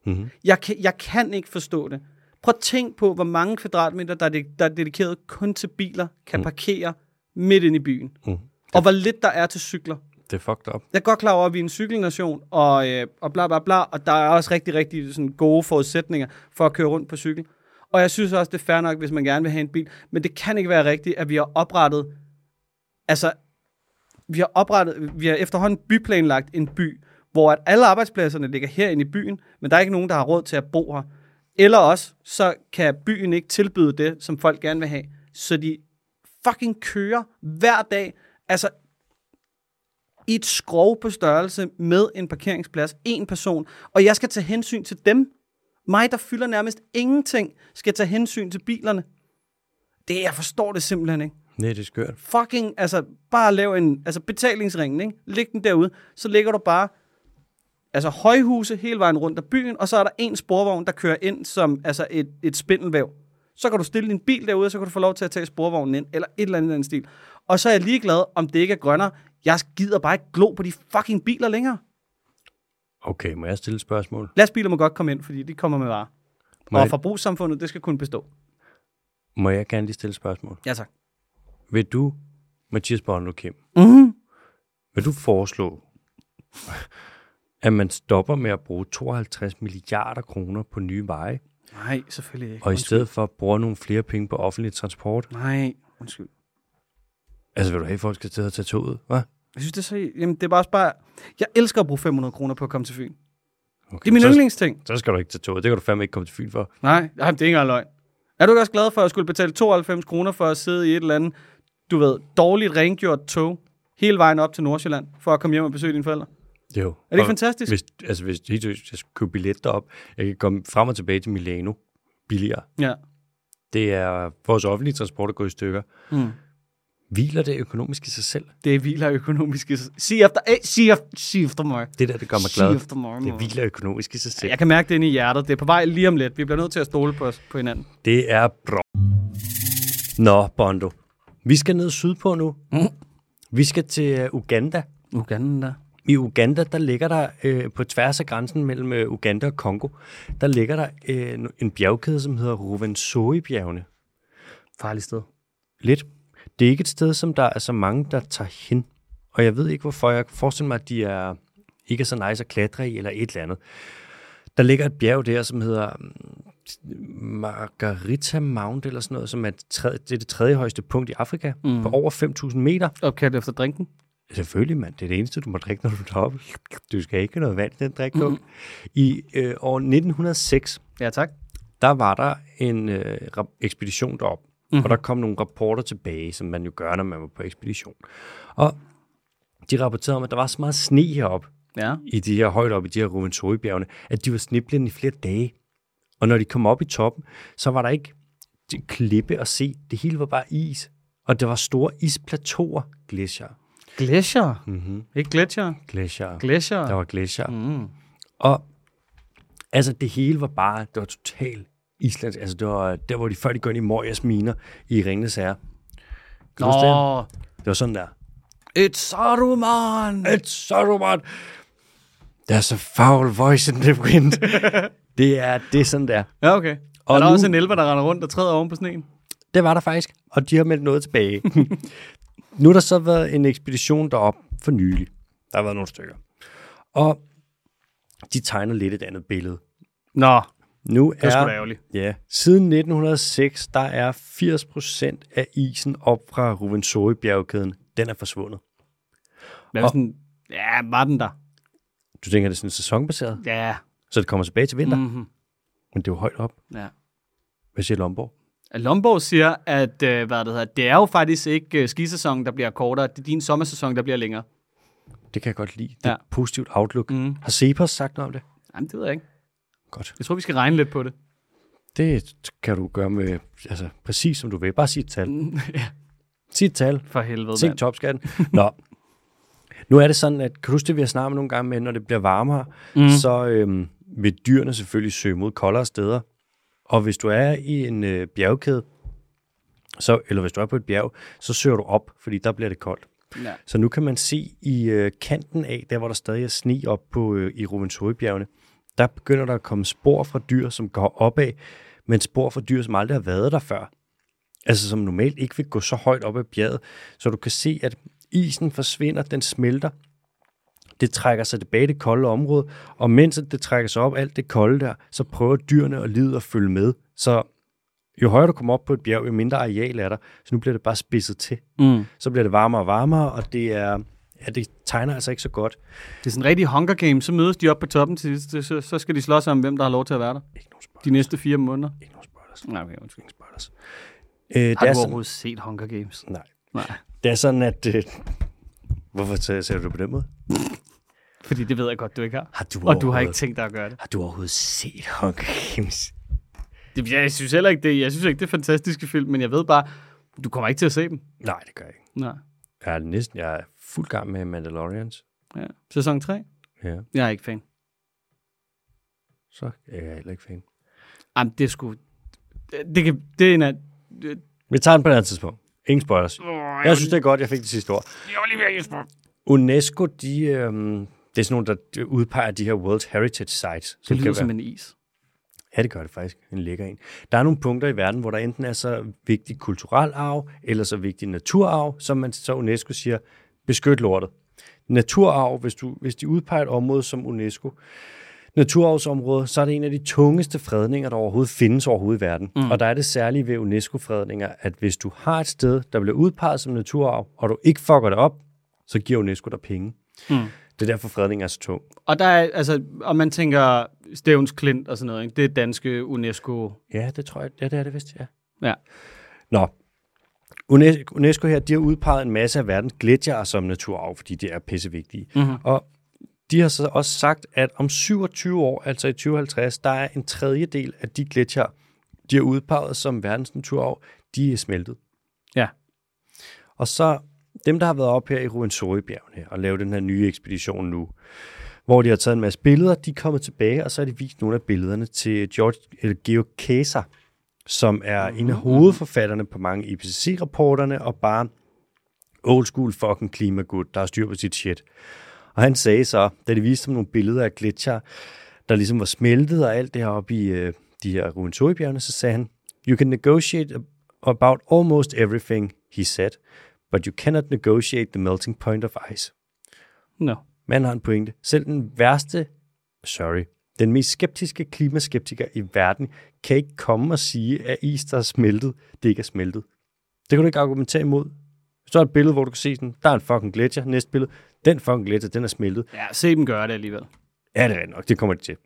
Speaker 1: Mhm.
Speaker 2: Jeg, kan, jeg kan ikke forstå det. Prøv at tænk på, hvor mange kvadratmeter, der er, de, der er dedikeret kun til biler, kan parkere midt inde i byen.
Speaker 1: Mm.
Speaker 2: Og hvor lidt der er til cykler.
Speaker 1: Det er fucked up.
Speaker 2: Jeg er godt klar over, at vi er en cykelnation, og, øh, og bla bla bla, og der er også rigtig, rigtig sådan, gode forudsætninger for at køre rundt på cykel. Og jeg synes også, det er fair nok, hvis man gerne vil have en bil, men det kan ikke være rigtigt, at vi har oprettet, altså, vi har oprettet, vi har efterhånden byplanlagt en by, hvor at alle arbejdspladserne ligger herinde i byen, men der er ikke nogen, der har råd til at bo her. Eller også, så kan byen ikke tilbyde det, som folk gerne vil have, så de fucking kører hver dag, altså i et skrov på størrelse med en parkeringsplads, en person, og jeg skal tage hensyn til dem. Mig, der fylder nærmest ingenting, skal tage hensyn til bilerne. Det, jeg forstår det simpelthen ikke.
Speaker 1: Nej, det er skørt.
Speaker 2: Fucking, altså, bare lav en, altså betalingsringen, ikke? Læg den derude, så ligger du bare, altså højhuse hele vejen rundt af byen, og så er der en sporvogn, der kører ind som, altså et, et spindelvæv. Så kan du stille din bil derude, så kan du få lov til at tage sporvognen ind, eller et eller andet i den stil. Og så er jeg ligeglad, om det ikke er grønnere. Jeg gider bare ikke glo på de fucking biler længere.
Speaker 1: Okay, må jeg stille et spørgsmål?
Speaker 2: Lastbiler må godt komme ind, fordi de kommer med varer.
Speaker 1: Må
Speaker 2: Og
Speaker 1: jeg,
Speaker 2: forbrugssamfundet, det skal kun bestå.
Speaker 1: må jeg gerne lige stille et spørgsmål?
Speaker 2: Ja tak.
Speaker 1: Vil du, Mathias Bondo Kim,
Speaker 2: Mm-hmm.
Speaker 1: vil du foreslå, at man stopper med at bruge 52 milliarder kroner på nye veje,
Speaker 2: Nej, selvfølgelig ikke.
Speaker 1: og i stedet for bruger nogle flere penge på offentlig transport?
Speaker 2: Nej, undskyld.
Speaker 1: Altså, vil du have, at folk skal til at tage toget, hva'?
Speaker 2: Jeg synes, det er så... Jamen, det er bare også bare... Jeg elsker at bruge 500 kroner på at komme til Fyn. Det
Speaker 1: Okay,
Speaker 2: er min
Speaker 1: så,
Speaker 2: yndlingsting.
Speaker 1: Så skal du ikke tage toget. Det kan du fandme ikke komme til Fyn for.
Speaker 2: Nej, jamen, det er ikke engang løgn. Er du ikke også glad for, at jeg skulle betale 92 kroner for at sidde i et eller andet, du ved, dårligt rengjort tog hele vejen op til Nordsjælland, for at komme hjem og besøge dine forældre?
Speaker 1: Jo. Er
Speaker 2: det ikke fantastisk?
Speaker 1: Hvis, altså, hvis, helt seriøst, jeg skulle købe billet derop, jeg kan komme frem og tilbage til Milano billigere.
Speaker 2: Ja.
Speaker 1: Det er vores offentlige transport, der går i stykker.
Speaker 2: Mm.
Speaker 1: Hviler det økonomisk i sig selv?
Speaker 2: Det hviler økonomisk i sig. Sig efter, eh, sig efter, sig efter mig.
Speaker 1: Det der, det gør mig
Speaker 2: Sig
Speaker 1: glad.
Speaker 2: efter mig,
Speaker 1: Det
Speaker 2: mor.
Speaker 1: hviler økonomisk i sig selv.
Speaker 2: Jeg kan mærke det inde i hjertet. Det er på vej lige om lidt. Vi bliver nødt til at stole på, os, på hinanden.
Speaker 1: Det er bra. Nå, Bondo. Vi skal ned sydpå nu. Mm. Vi skal til øh, Uganda.
Speaker 2: Uganda.
Speaker 1: I Uganda, der ligger der øh, på tværs af grænsen mellem øh, Uganda og Kongo, der ligger der øh, en- en bjergkæde, som hedder Rovenzori-bjergene.
Speaker 2: Farligt sted.
Speaker 1: Lidt. Det er ikke et sted, som der er så mange, der tager hen. Og jeg ved ikke, hvorfor. Jeg kan forestille mig, at de er ikke er så nice at klatre i, eller et eller andet. Der ligger et bjerg der, som hedder mm, Margarita Mount, eller sådan noget, som er, et tredje, det, er det tredje højeste punkt i Afrika, mm. på over 5.000 meter.
Speaker 2: Opkaldt efter drinken.
Speaker 1: Selvfølgelig, mand. Det er det eneste, du må drikke, når du er deroppe. Du skal ikke have noget vand, i den drik mm. I øh, år 1906,
Speaker 2: Ja, tak.
Speaker 1: der var der en øh, rap- ekspedition derop, mm-hmm. og der kom nogle rapporter tilbage, som man jo gør, når man var på ekspedition. Og de rapporterede om, at der var så meget sne heroppe,
Speaker 2: Ja.
Speaker 1: i de her højt op i de her Ruventori-bjergene, at de var sneblinde i flere dage. Og når de kom op i toppen, så var der ikke det klippe at se. Det hele var bare is. Og der var store isplateauer, glacier.
Speaker 2: Glacier. Mm-hmm. Ikke gletsjer.
Speaker 1: glacier.
Speaker 2: Glacier.
Speaker 1: Der var glacier. Mm. Og altså det hele var bare, det var totalt islandsk. Altså det var der, hvor de før de går ind i Morjas miner i Ringnes Herre. Kan du huske det?
Speaker 2: Nå,
Speaker 1: Det var sådan der.
Speaker 2: et Saruman.
Speaker 1: It's Saruman! There's a foul voice in the wind. det, er, det er sådan der.
Speaker 2: Ja, okay. Og
Speaker 1: Og
Speaker 2: er der
Speaker 1: nu-
Speaker 2: også en elver, der render rundt og træder oven på sneen?
Speaker 1: Det var der faktisk, og de har meldt noget tilbage. nu har der så været en ekspedition derop for nylig. Der har været nogle stykker. Og de tegner lidt et andet billede.
Speaker 2: Nå,
Speaker 1: Nu
Speaker 2: det er sgu
Speaker 1: er
Speaker 2: da ærgerligt.
Speaker 1: Ja. Siden 1906, der er 80% af isen op fra Ruvenzori-bjergkæden, den er forsvundet.
Speaker 2: Men
Speaker 1: Og-
Speaker 2: sådan, ja, var den der?
Speaker 1: Du tænker, det er sådan sæsonbaseret,
Speaker 2: Ja.
Speaker 1: så det kommer tilbage til vinter, mm.
Speaker 2: Mm-hmm.
Speaker 1: men det er jo højt op.
Speaker 2: ja.
Speaker 1: Hvad siger Lomborg?
Speaker 2: Lomborg siger, at øh, hvad det, hedder, det er jo faktisk ikke øh, skisæsonen, der bliver kortere. Det er din sommersæson, der bliver længere.
Speaker 1: Det kan jeg godt lide. Det er
Speaker 2: Ja.
Speaker 1: ja. et positivt outlook.
Speaker 2: Mm.
Speaker 1: Mm. Har Cepos sagt noget om det?
Speaker 2: Jamen, det ved jeg ikke.
Speaker 1: Godt.
Speaker 2: Jeg tror, vi skal regne lidt på det.
Speaker 1: Det kan du gøre med, altså præcis som du vil. Bare sig et tal.
Speaker 2: Mm, ja,
Speaker 1: Sig et tal.
Speaker 2: for helvede,
Speaker 1: Tænk
Speaker 2: mand.
Speaker 1: topskatten.
Speaker 2: [LAUGHS]
Speaker 1: Nå. Nu er det sådan, at kan du huske det, vi har snakket nogle gange med, når det bliver varmere, mm. så øhm, vil dyrene selvfølgelig søge mod koldere steder. Og hvis du er i en øh, bjergkæde, så, eller hvis du er på et bjerg, så søger du op, fordi der bliver det koldt.
Speaker 2: Ja.
Speaker 1: Så nu kan man se i øh, kanten af, der hvor der stadig er sne op på, øh, i Ruventoribjergene, der begynder der at komme spor fra dyr, som går opad, men spor fra dyr, som aldrig har været der før. Altså som normalt ikke vil gå så højt op ad bjerget, så du kan se, at isen forsvinder, den smelter, det trækker sig tilbage i det kolde område, og mens at det trækker sig op, alt det kolde der, så prøver dyrene og livet at følge med. Så jo højere du kommer op på et bjerg, jo mindre areal er der, så nu bliver det bare spidset til
Speaker 2: Mm.
Speaker 1: så bliver det varmere og varmere, og det er ja, det tegner altså ikke så godt.
Speaker 2: Det er sådan en rigtig Hunger Games. Så mødes de op på toppen, til, til, så, så skal de slås om, hvem der har lov til at være der
Speaker 1: Ikke nogen spoilers.
Speaker 2: de næste fire måneder.
Speaker 1: Ikke nogen spoilers.
Speaker 2: Nej, okay, undskyld.
Speaker 1: Ingen spoilers. Øh, det,
Speaker 2: Har
Speaker 1: er sådan,
Speaker 2: du overhovedet set Hunger Games?
Speaker 1: nej,
Speaker 2: Nej,
Speaker 1: det er sådan, at... Øh, hvorfor t- ser du det på den måde?
Speaker 2: fordi det ved jeg godt, du ikke har.
Speaker 1: Har du
Speaker 2: Og du har
Speaker 1: overhovedet-
Speaker 2: ikke tænkt dig at gøre det.
Speaker 1: Har du overhovedet set Hunger Games?
Speaker 2: det jeg synes heller ikke, det, jeg synes ikke, det er fantastiske film, men jeg ved bare, du kommer ikke til at se dem.
Speaker 1: Nej, det gør jeg ikke.
Speaker 2: Nej.
Speaker 1: Jeg er næsten jeg er fuld gang med Mandalorians.
Speaker 2: Ja. Sæson 3?
Speaker 1: Ja,
Speaker 2: Jeg er ikke fan.
Speaker 1: så er jeg heller ikke fan.
Speaker 2: Jamen, det er sgu... det, kan, det er en af...
Speaker 1: Vi tager den på et andet tidspunkt. Ingen spoilers. Jeg synes, det er godt, jeg fik det sidste ord. UNESCO, de, øhm, det er sådan nogle, der udpeger de her World Heritage Sites.
Speaker 2: Det lyder
Speaker 1: kan
Speaker 2: som
Speaker 1: være-
Speaker 2: en is.
Speaker 1: Ja, det gør det faktisk. En lækker en. Der er nogle punkter i verden, hvor der enten er så vigtig kulturel arv, eller så vigtig naturarv, som man så UNESCO siger, beskyt lortet. Naturarv, hvis, du, hvis de udpeger et område som UNESCO, naturarvsområde, så er det en af de tungeste fredninger, der overhovedet findes overhovedet i verden. Mm. Og der er det særlige ved UNESCO-fredninger, at hvis du har et sted, der bliver udpeget som naturarv, og du ikke fucker det op, så giver UNESCO dig penge. Mm. Det er derfor, fredningen er så tung.
Speaker 2: Og der er, altså, og man tænker Stævns Klint og sådan noget, ikke? det er danske UNESCO.
Speaker 1: Ja, det tror jeg. Ja, det er det vist, ja.
Speaker 2: Ja.
Speaker 1: Nå. UNESCO UNESCO her, de har udpeget en masse af verdens gletsjere som naturarv, fordi det er pissevigtige. Mm-hmm. Og de har så også sagt, at om 27 år, altså i 2050, der er en tredjedel af de gletsjere, de har udpeget som verdens naturarv, de er smeltet.
Speaker 2: Ja.
Speaker 1: Og så dem, der har været op her i Ruwenzori-bjergene her og lavet den her nye ekspedition nu, hvor de har taget en masse billeder, de er kommet tilbage, og så har de vist nogle af billederne til George, eller Georg Kaiser, som er en af hovedforfatterne på mange IPCC-rapporterne, og bare old school fucking klimagud, der har styr på sit shit. Og han sagde så, da de viste ham nogle billeder af gletsjer, der ligesom var smeltet og alt det her op i øh, de her Ruwenzori-bjergene, så sagde han, You can negotiate ab- about almost everything, he said, but you cannot negotiate the melting point of ice.
Speaker 2: No.
Speaker 1: Man har en pointe. Selv den værste, sorry, den mest skeptiske klimaskeptiker i verden, kan ikke komme og sige, at is, der er smeltet, det ikke er smeltet. Det kan du ikke argumentere imod. Hvis du har et billede, hvor du kan se sådan, der er en fucking gletsjer, næste billede, den fucking gletsjer, den er smeltet.
Speaker 2: Ja, se dem gøre det alligevel.
Speaker 1: Ja, det er rigtigt nok, det kommer det til.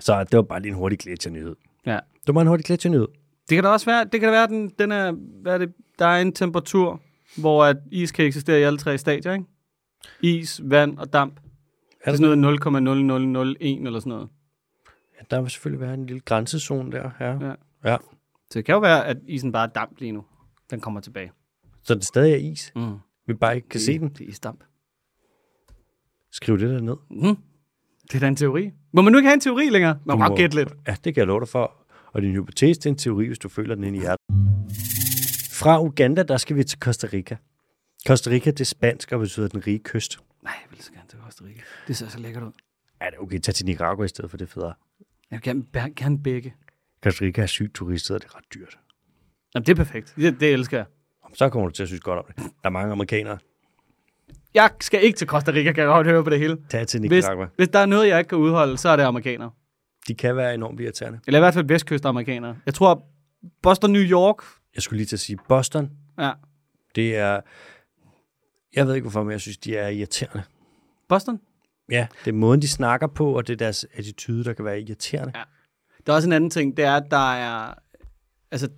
Speaker 1: Så det var bare lige en hurtig gletsjernyhed.
Speaker 2: Ja.
Speaker 1: Det var en hurtig gletsjernyhed.
Speaker 2: Det kan da også være, det kan da være, den, den er, hvad er det, der er en temperatur, hvor at is kan eksistere i alle tre stadier, ikke? Is, vand og damp. Er det er sådan noget 0,0001 eller sådan noget.
Speaker 1: Ja, der vil selvfølgelig være en lille grænsezone der. Ja.
Speaker 2: Ja.
Speaker 1: ja.
Speaker 2: Så det kan jo være, at isen bare er damp lige nu. Den kommer tilbage.
Speaker 1: Så det stadig er is.
Speaker 2: Mm.
Speaker 1: Vi bare ikke kan se den.
Speaker 2: Det er isdamp.
Speaker 1: Skriv det der ned.
Speaker 2: Mm. Det er da en teori. Må man nu ikke have en teori længere? Man må
Speaker 1: Du
Speaker 2: godt gætte lidt.
Speaker 1: Ja, det kan jeg love dig for. Og din hypotese, det er en teori, hvis du føler den ind i hjertet. Fra Uganda, der skal vi til Costa Rica. Costa Rica, det er spansk og betyder den rige kyst.
Speaker 2: Nej, jeg vil så gerne til Costa Rica. Det ser så lækkert ud.
Speaker 1: Ja, det er okay. Tag til Nicaragua i stedet for det er federe.
Speaker 2: Jeg vil gerne, bær- gerne begge.
Speaker 1: Costa Rica er sygt turistet, og det er ret dyrt.
Speaker 2: Jamen, det er perfekt. Det, det elsker jeg.
Speaker 1: Så kommer du til at synes godt om det. Der er mange amerikanere.
Speaker 2: Jeg skal ikke til Costa Rica, kan jeg godt høre på det hele.
Speaker 1: Tag til
Speaker 2: Hvis,
Speaker 1: Nicaragua.
Speaker 2: hvis der er noget, jeg ikke kan udholde, så er det amerikanere.
Speaker 1: De kan være enormt irriterende.
Speaker 2: Eller i hvert fald vestkystamerikanere. Jeg tror, Boston, New York.
Speaker 1: Jeg skulle lige til at sige, Boston,
Speaker 2: Ja.
Speaker 1: det er... Jeg ved ikke hvorfor, men jeg synes, de er irriterende.
Speaker 2: Boston?
Speaker 1: Ja, det er måden, de snakker på, og det er deres attitude, der kan være irriterende.
Speaker 2: Ja. Der er også en anden ting, det er, at der er, altså,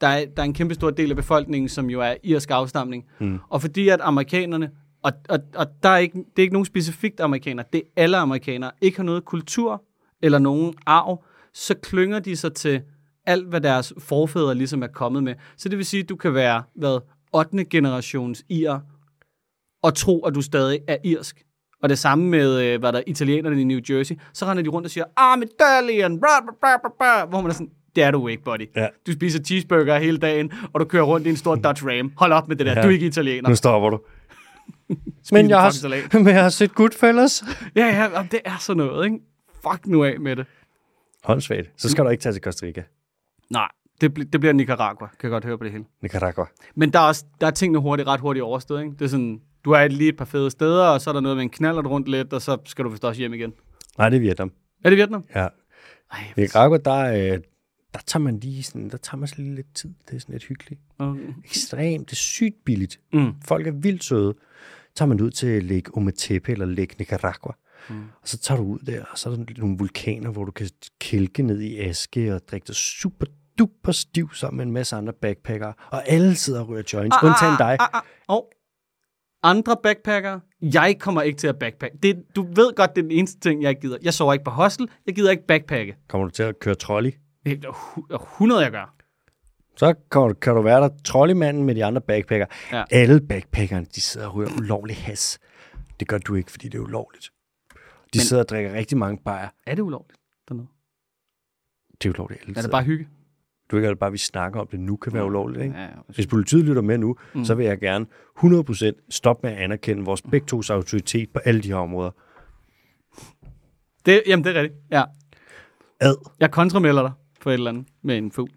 Speaker 2: der er, der er en kæmpe stor del af befolkningen, som jo er irsk afstamning. Mm. Og fordi at amerikanerne, og, og, og der er ikke, det er ikke nogen specifikt amerikaner, det er alle amerikanere, ikke har noget kultur eller nogen arv, så klynger de sig til alt, hvad deres forfædre ligesom er kommet med. Så det vil sige, at du kan være, hvad, 8. generations irer, og tro, at du stadig er irsk. Og det samme med, øh, hvad der er, italienerne i New Jersey. Så render de rundt og siger, I'm Italian, bra, bra, bra, bra, bra, hvor man er sådan, det er du ikke, buddy.
Speaker 1: Ja. Mm.
Speaker 2: Du spiser cheeseburger hele dagen, og du kører rundt i en stor Dodge Ram. Hold op med det der, ja. du er ikke italiener.
Speaker 1: Nu stopper du. [LAUGHS] Men jeg,
Speaker 2: fucking salat.
Speaker 1: har, [LAUGHS] men jeg har set Goodfellas.
Speaker 2: Ja, ja, jamen, det er sådan noget, ikke? Fuck nu af med det.
Speaker 1: Håndsvagt. Så skal du ikke tage til Costa Rica.
Speaker 2: Nej, det, bl- det bliver Nicaragua, kan jeg godt høre på det hele.
Speaker 1: Nicaragua.
Speaker 2: Men der er, også, der er tingene hurtigt, ret hurtigt overstået, ikke? Det er sådan, du er lige et par fede steder, og så er der noget med en knallert rundt lidt, og så skal du vist også hjem igen.
Speaker 1: Nej, det er Vietnam.
Speaker 2: Er det Vietnam?
Speaker 1: Ja.
Speaker 2: Ej,
Speaker 1: Nicaragua, der, øh, der tager man lige sådan, der tager man sådan lige lidt tid. Det er sådan lidt hyggeligt.
Speaker 2: okay.
Speaker 1: Ekstremt. Det er sygt billigt.
Speaker 2: Mm.
Speaker 1: Folk er vildt søde. Tager man ud til Lake Ometepe eller Lake Nicaragua. Mm. Og så tager du ud der, og så er der nogle vulkaner, hvor du kan kælke ned i aske og drikke dig super duper stiv sammen med en masse andre backpackere. Og alle sidder og ryger joints, undtagen dig.
Speaker 2: Ah, ah, og andre backpackere, jeg kommer ikke til at backpack. Det, du ved godt, det er den eneste ting, jeg ikke gider. Jeg sover ikke på hostel, jeg gider ikke backpacke.
Speaker 1: Kommer du til at køre trolley?
Speaker 2: Det er hu- 100, jeg gør.
Speaker 1: Så kan du, kan du være der trolleymanden med de andre backpacker.
Speaker 2: Ja.
Speaker 1: Ja. Alle backpackerne, de sidder og ryger ulovlig has. Det gør du ikke, fordi det er ulovligt. De Men... sidder og drikker rigtig mange bajer.
Speaker 2: Er det ulovligt dernede?
Speaker 1: Det er jo ulovligt alle
Speaker 2: Er det
Speaker 1: steder.
Speaker 2: bare hygge?
Speaker 1: Du ikke er det bare, at vi snakker om det nu, kan være ulovligt, ikke?
Speaker 2: Ja, ja.
Speaker 1: Hvis politiet lytter med nu, mm. så vil jeg gerne 100% stoppe med at anerkende vores begge tos autoritet på alle de her områder.
Speaker 2: Det, jamen, det er rigtigt. Ja.
Speaker 1: Ad.
Speaker 2: Jeg kontramælder dig på et eller andet med en fugl.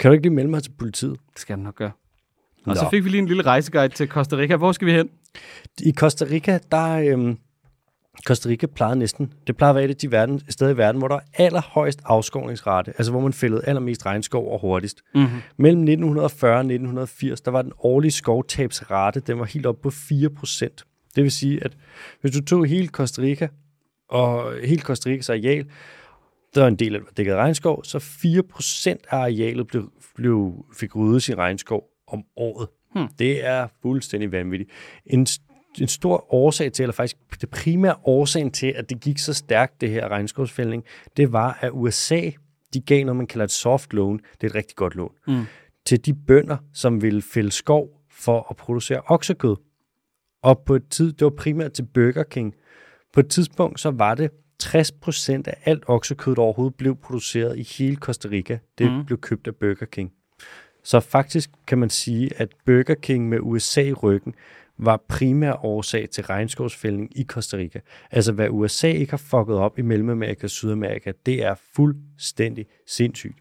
Speaker 1: Kan du ikke lige melde mig til politiet?
Speaker 2: Det skal jeg nok gøre. Og
Speaker 1: Nå.
Speaker 2: Nå. så fik vi lige en lille rejseguide til Costa Rica. Hvor skal vi hen?
Speaker 1: I Costa Rica, der øhm, Costa Rica plejer næsten, det plejer at være et af de verden, steder i verden, hvor der er allerhøjst afskovningsrate, altså hvor man fældede allermest regnskov og hurtigst. Mm-hmm. Mellem 1940 og 1980, der var den årlige skovtabsrate, den var helt op på 4%. Det vil sige, at hvis du tog hele Costa Rica og hele Costa Ricas areal, der er en del af det var dækket af regnskov, så 4% af arealet blev, blev, fik ryddet sin regnskov om året. Hmm. Det er fuldstændig vanvittigt. En, s- en stor årsag til, eller faktisk det primære årsagen til, at det gik så stærkt, det her regnskovsfældning, det var, at USA, de gav noget, man kalder et soft loan, det er et rigtig godt lån, hmm. til de bønder, som ville fælde skov for at producere oksekød. Og på et tid, det var primært til Burger King. På et tidspunkt, så var det 60% af alt oksekød, der overhovedet blev produceret i hele Costa Rica. Det mm. blev købt af Burger King. Så faktisk kan man sige, at Burger King med USA i ryggen var primær årsag til regnskovsfældning i Costa Rica. Altså hvad USA ikke har fucket op i Mellemamerika og Sydamerika, det er fuldstændig sindssygt.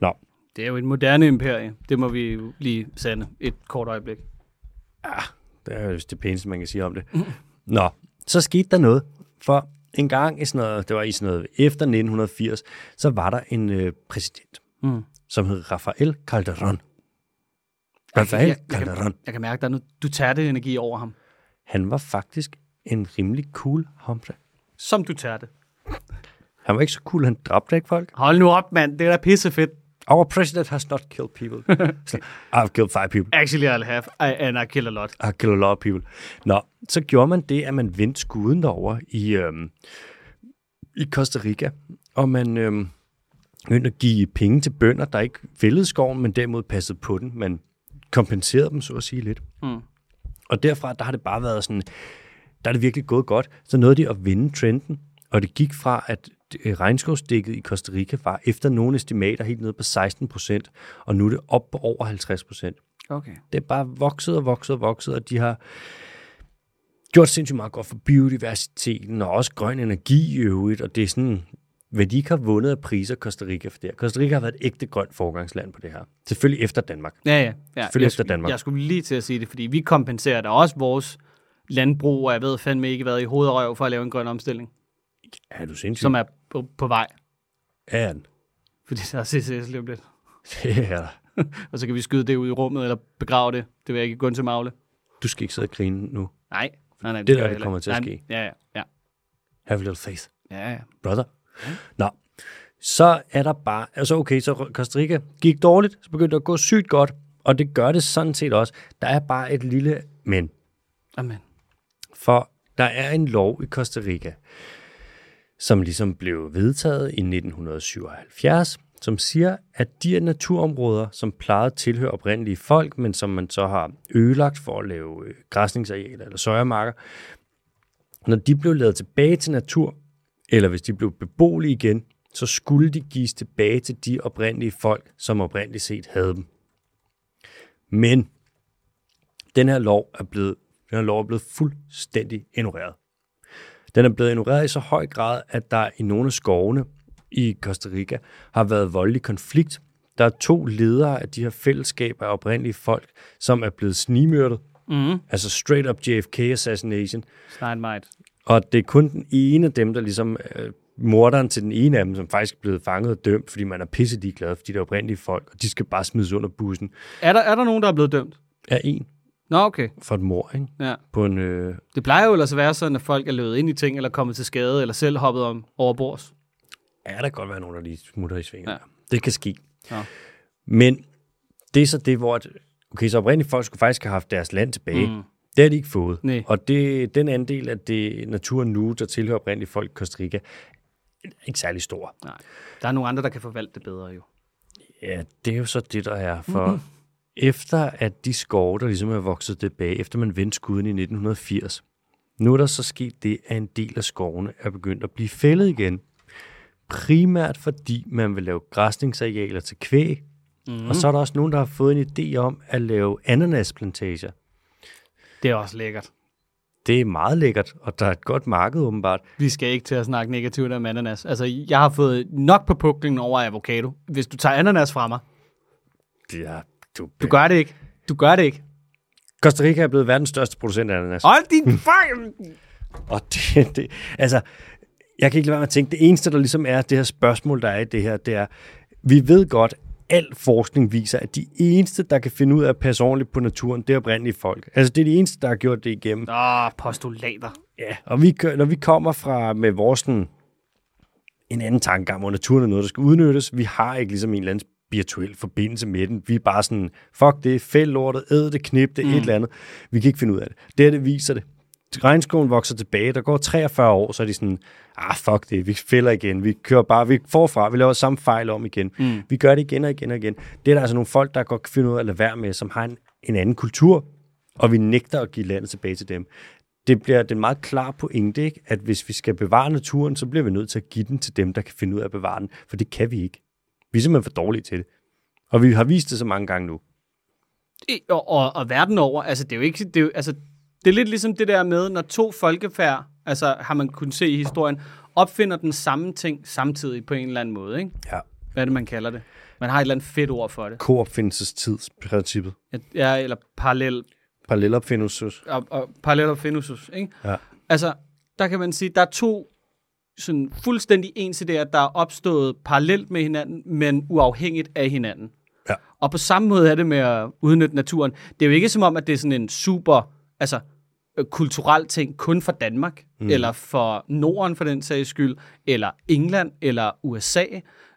Speaker 1: Nå,
Speaker 2: Det er jo et moderne imperie. Det må vi jo lige sande et kort øjeblik.
Speaker 1: Det er vist det pæneste, man kan sige om det.
Speaker 2: Mm-hmm.
Speaker 1: Nå, så skete der noget, for en gang i sådan noget, det var i sådan noget efter 1980, så var der en øh, præsident,
Speaker 2: Mm.
Speaker 1: som hed Rafael Calderón. Rafael
Speaker 2: jeg, jeg,
Speaker 1: Calderón.
Speaker 2: kan, jeg kan mærke, der er noget du tager det energi over ham.
Speaker 1: Han var faktisk en rimelig cool hombre.
Speaker 2: Som du tager det.
Speaker 1: Han var ikke så cool, han dræbte ikke folk.
Speaker 2: Hold nu op, mand. Det er da pissefedt.
Speaker 1: Our president has not killed
Speaker 2: [LAUGHS]
Speaker 1: people. Så, I've killed five people.
Speaker 2: Actually, I'll have. I, and I kill a lot.
Speaker 1: I killed a lot of people. Nå, så gjorde man det, at man vendte skuden derover i, øhm, i Costa Rica, og man øhm, begyndte at give penge til bønder, der ikke fældede skoven, men derimod passede på den. Man kompenserede dem, så at sige lidt. Mm. Og derfra, der har det bare været sådan, der er det virkelig gået godt. Så nåede de at vinde trenden, og det gik fra, at øh, regnskovsdækket i Costa Rica var efter nogle estimater helt nede på 16 procent, og nu er det op på over 50 procent.
Speaker 2: Okay.
Speaker 1: Det er bare vokset og vokset og vokset, og de har gjort sindssygt meget godt for biodiversiteten, og også grøn energi i øvrigt, og det er sådan, hvad de ikke har vundet af priser Costa Rica for det her. Costa Rica har været et ægte grønt forgangsland på det her. Selvfølgelig efter Danmark.
Speaker 2: Ja, ja. ja.
Speaker 1: Selvfølgelig
Speaker 2: jeg,
Speaker 1: efter Danmark.
Speaker 2: Jeg skulle lige til at sige det, fordi vi kompenserer da også vores landbrug, og jeg ved fandme ikke, hvad i hovedrøv for at lave en grøn omstilling,
Speaker 1: Ja, er du sindssyg?
Speaker 2: som er på, på vej.
Speaker 1: Ja, den.
Speaker 2: Fordi der er CCS lige om lidt.
Speaker 1: det er der.
Speaker 2: Og så kan vi skyde det ud i rummet, eller begrave det. Det vil jeg ikke gå til magle.
Speaker 1: Du skal ikke sidde og grine nu.
Speaker 2: Nej. nej, nej
Speaker 1: der,
Speaker 2: gør jeg
Speaker 1: det
Speaker 2: heller
Speaker 1: kommer til
Speaker 2: ikke.
Speaker 1: at
Speaker 2: Nej,
Speaker 1: ske.
Speaker 2: Ja, ja, ja.
Speaker 1: Have a little faith.
Speaker 2: ja, ja.
Speaker 1: brother. Nå, så er der bare, altså okay, så Costa Rica gik dårligt, så begyndte det at gå sygt godt, og det gør det sådan set også. Der er bare et lille men,
Speaker 2: Amen.
Speaker 1: for der er en lov i Costa Rica, som ligesom blev vedtaget i 1977, som siger, at de naturområder, som plejede at tilhøre oprindelige folk, men som man så har ødelagt for at lave øh, græsningsarealer eller søjermarker, når de blev lavet tilbage til natur, eller hvis de blev beboelige igen, så skulle de gives tilbage til de oprindelige folk, som oprindeligt set havde dem. Men den her lov er blevet, den her lov er blevet fuldstændig ignoreret. Den er blevet ignoreret i så høj grad, at der i nogle af skovene i Costa Rica har været voldelig konflikt. Der er to ledere af de her fællesskaber af oprindelige folk, som er blevet snigmyrdet. Mm. Altså straight up JFK assassination.
Speaker 2: Steinmeier.
Speaker 1: Og det er kun den ene af dem, der ligesom øh, morderen til den ene af dem, som faktisk er blevet fanget og dømt, fordi man er pisse ligeglad, fordi det er oprindelige folk, og de skal bare smides under bussen,
Speaker 2: Er der, er der nogen, der er blevet dømt?
Speaker 1: er en
Speaker 2: Nå, okay.
Speaker 1: for et mor, ikke?
Speaker 2: Ja.
Speaker 1: På en, øh,
Speaker 2: Det plejer jo ellers at være sådan, at folk er løbet ind i ting, eller kommet til skade, eller selv hoppet om over bords.
Speaker 1: ja, der kan godt være nogen, der lige smutter i svinget.
Speaker 2: Ja.
Speaker 1: Ja. Det kan ske.
Speaker 2: Nå.
Speaker 1: Men det er så det, hvor... At, okay, så oprindeligt folk skulle faktisk have haft deres land tilbage. Mm. Det har de ikke fået.
Speaker 2: Nej.
Speaker 1: Og det, den andel af det naturen nu, der tilhører oprindeligt folk i Costa Rica, er ikke særlig stor.
Speaker 2: Nej. Der er nogle andre, der kan forvalte det bedre jo.
Speaker 1: Ja, det er jo så det, der er. For mm-hmm. efter at de skove, der ligesom er vokset tilbage, efter man vendte skuden i 1980, nu er der så sket det, at en del af skovene er begyndt at blive fældet igen. primært fordi man vil lave græsningsarealer til kvæg, mm. og så er der også nogen, der har fået en idé om at lave ananasplantager.
Speaker 2: Det er også lækkert.
Speaker 1: Det er meget lækkert, og der er et godt marked åbenbart.
Speaker 2: Vi skal ikke til at snakke negativt om ananas. Altså, jeg har fået nok på puklingen over avocado. Hvis du tager ananas fra mig,
Speaker 1: Ja, du,
Speaker 2: du gør det ikke. Du gør det ikke.
Speaker 1: Costa Rica er blevet verdens største producent af ananas.
Speaker 2: Hold din fucking...
Speaker 1: Og [LAUGHS] det, det, altså, jeg kan ikke lade være med at tænke, det eneste, der ligesom er det her spørgsmål, der er i det her, det er, vi ved godt, al forskning viser, at de eneste, der kan finde ud af at passe ordentligt på naturen, det er oprindelige folk. Altså, det er de eneste, der har gjort det igennem.
Speaker 2: Åh, oh, postulater.
Speaker 1: Ja, og vi, kø- når vi kommer fra med vores sådan, en anden tankegang, hvor naturen er noget, der skal udnyttes, vi har ikke ligesom en eller anden spirituel forbindelse med den. Vi er bare sådan, fuck det, fæld lortet, æd det, knip det, mm. et eller andet. Vi kan ikke finde ud af det. Det her, det viser det. Regnskoven vokser tilbage, der går 43 år, så er de sådan, ah fuck det, vi fælder igen, vi kører bare, vi forfra, vi laver samme fejl om igen. Mm. Vi gør det igen og igen og igen. Det er der altså nogle folk, der godt kan finde ud af at lade være med, som har en, en anden kultur, og vi nægter at give landet tilbage til dem det bliver den meget klar pointe, ikke? at hvis vi skal bevare naturen, så bliver vi nødt til at give den til dem, der kan finde ud af at bevare den, for det kan vi ikke. Vi er simpelthen for dårlige til det. Og vi har vist det så mange gange nu.
Speaker 2: I- Og, og, og verden over, altså det er jo ikke, det er, jo, altså, det er lidt ligesom det der med, når to folkefærd, altså har man kunnet se i historien, opfinder den samme ting samtidig på en eller anden måde, ikke?
Speaker 1: Ja.
Speaker 2: Hvad er det, man kalder det? Man har et eller andet fedt ord for det.
Speaker 1: Koopfindelsestidsprincippet.
Speaker 2: Ja, eller parallel,
Speaker 1: Parallelopfindelses.
Speaker 2: og, og parallel opfindelses, ikke?
Speaker 1: Ja.
Speaker 2: Altså, der kan man sige, der er to sådan fuldstændig ens idéer, der er opstået parallelt med hinanden, men uafhængigt af hinanden.
Speaker 1: Ja.
Speaker 2: Og på samme måde er det med at udnytte naturen. Det er jo ikke som om, at det er sådan en super, altså øh, kulturel ting kun for Danmark, mm. eller for Norden for den sags skyld, eller England, eller USA.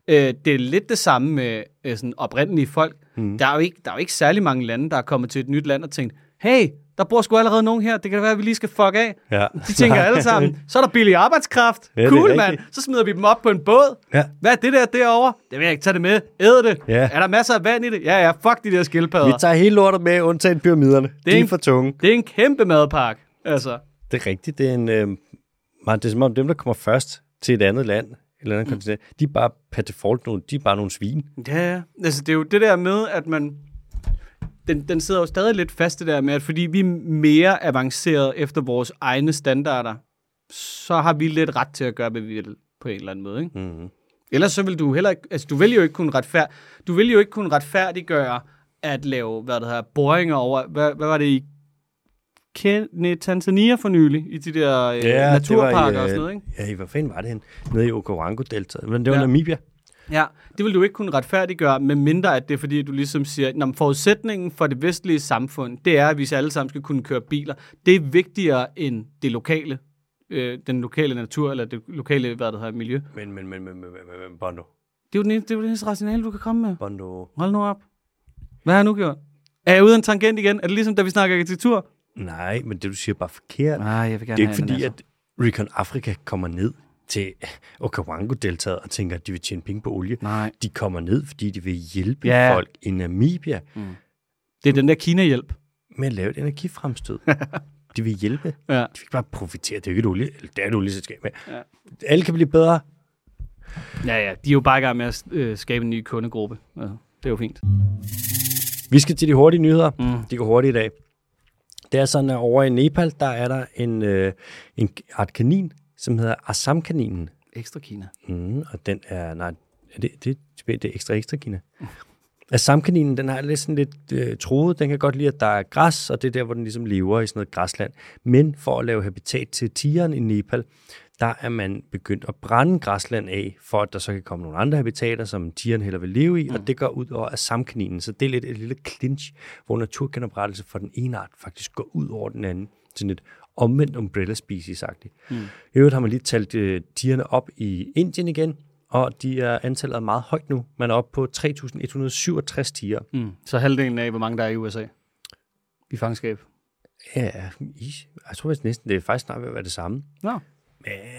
Speaker 2: Øh, det er lidt det samme med øh, sådan oprindelige folk. Mm. Der, er jo ikke, der er jo ikke særlig mange lande, der er kommet til et nyt land og tænkt, hey, der bor sgu allerede nogen her, det kan da være, at vi lige skal fuck af.
Speaker 1: Ja.
Speaker 2: De tænker alle sammen, så er der billig arbejdskraft.
Speaker 1: Ja, det er
Speaker 2: cool,
Speaker 1: rigtigt.
Speaker 2: mand. Så smider vi dem op på en båd.
Speaker 1: [LAUGHS] Ja.
Speaker 2: Hvad er det der derovre? Det vil jeg ikke tage det med. Æd det.
Speaker 1: Ja.
Speaker 2: Er der masser af vand i det? Ja, ja, fuck de der
Speaker 1: Vi
Speaker 2: skildpadder.
Speaker 1: tager hele lortet med, undtagen pyramiderne. Det
Speaker 2: er
Speaker 1: er De
Speaker 2: en-
Speaker 1: er for tunge.
Speaker 2: det er en kæmpe madpakke. Altså,
Speaker 1: Det er rigtigt. Det er, en, øh, meget, det er som om dem, der kommer først til et andet land, et eller andet mm. kontinent, de er bare per default nogle, de er bare nogle svin.
Speaker 2: ja, ja. Altså, det er jo det der med, at man... Den, den sidder jo stadig lidt fast det der med, at fordi vi er mere avanceret efter vores egne standarder, så har vi lidt ret til at gøre, hvad vi vil på en eller anden måde. Ikke?
Speaker 1: Mm.
Speaker 2: Ellers så vil du heller ikke, altså du vil jo ikke kunne retfærd, du vil jo ikke kunne retfærdiggøre at lave, hvad det hedder, boringer over, hvad, hvad var det i Ken- nej, Tanzania for nylig, i de der øh,
Speaker 1: det var i,
Speaker 2: naturparker og sådan noget, ikke?
Speaker 1: Ja, i- hvor fanden var det hen? Nede i Okavango-deltaet. Men det var
Speaker 2: Ja.
Speaker 1: ja. Namibia.
Speaker 2: Ja, det vil du ikke kunne retfærdiggøre, med mindre at det er fordi, du ligesom siger, at forudsætningen for det vestlige samfund, det er, at vi så alle sammen skal kunne køre biler. Det er vigtigere end det lokale, øh, den lokale natur, eller det lokale, hvad det hedder, miljø. Det
Speaker 1: Men, men, men, men, men, men, men Bondo.
Speaker 2: er jo den eneste, det er jo den eneste rationale, du kan komme med.
Speaker 1: Bondo.
Speaker 2: Hold nu op. Hvad har jeg nu gjort? Er jeg ude af en tangent igen? Er det ligesom, da vi snakker arkitektur?
Speaker 1: Nej, men det du siger er bare forkert.
Speaker 2: Nej, altså- jeg vil gerne
Speaker 1: det er ikke fordi, at Recon Africa kommer ned til Okavango-deltaget og tænker, at de vil tjene penge på olie.
Speaker 2: Nej.
Speaker 1: De kommer ned, fordi de vil hjælpe
Speaker 2: Ja.
Speaker 1: ja. folk i Namibia
Speaker 2: Det er den der Kina-hjælp.
Speaker 1: med at lave et
Speaker 2: [LAUGHS]
Speaker 1: energifremstød. de vil hjælpe. De
Speaker 2: Ja.
Speaker 1: vil ikke bare profitere. Det er jo ikke et olie. Eller det er et olieselskab. Men ja. Alle kan blive bedre.
Speaker 2: ja, ja. De er jo bare i gang med at øh, skabe en ny kundegruppe. Ja, det er jo fint.
Speaker 1: Vi skal til de hurtige nyheder.
Speaker 2: Mm.
Speaker 1: Mm. De går hurtigt i dag. Det er sådan, at over i Nepal, der er der en, øh, en art kanin, som hedder Assam-kaninen.
Speaker 2: Ekstra Kina.
Speaker 1: Mm, og den er, nej, er det, det, det er ekstra ekstra Kina. Assamkaninen, den har lidt sådan lidt øh, troet. Den kan godt lide, at der er græs, og det er der, hvor den ligesom lever i sådan noget græsland. Men for at lave habitat til tigeren i Nepal, der er man begyndt at brænde græsland af, for at der så kan komme nogle andre habitater, som tigeren heller vil leve i, mm. og det går ud over assamkaninen. Så det er lidt et lille clinch, hvor naturgenoprettelse for den ene art faktisk går ud over den anden. Sådan et omvendt umbrella species-agtigt. Mm. I øvrigt har man lige talt øh, tigerne op i Indien igen, og de er antallet er meget højt nu. Man er oppe på 3.167 tiger.
Speaker 2: Mm. Så halvdelen af, hvor mange der er i USA. I fangenskab.
Speaker 1: Ja, ish. jeg tror vist næsten, det er faktisk snart ved at være det samme.
Speaker 2: Nå,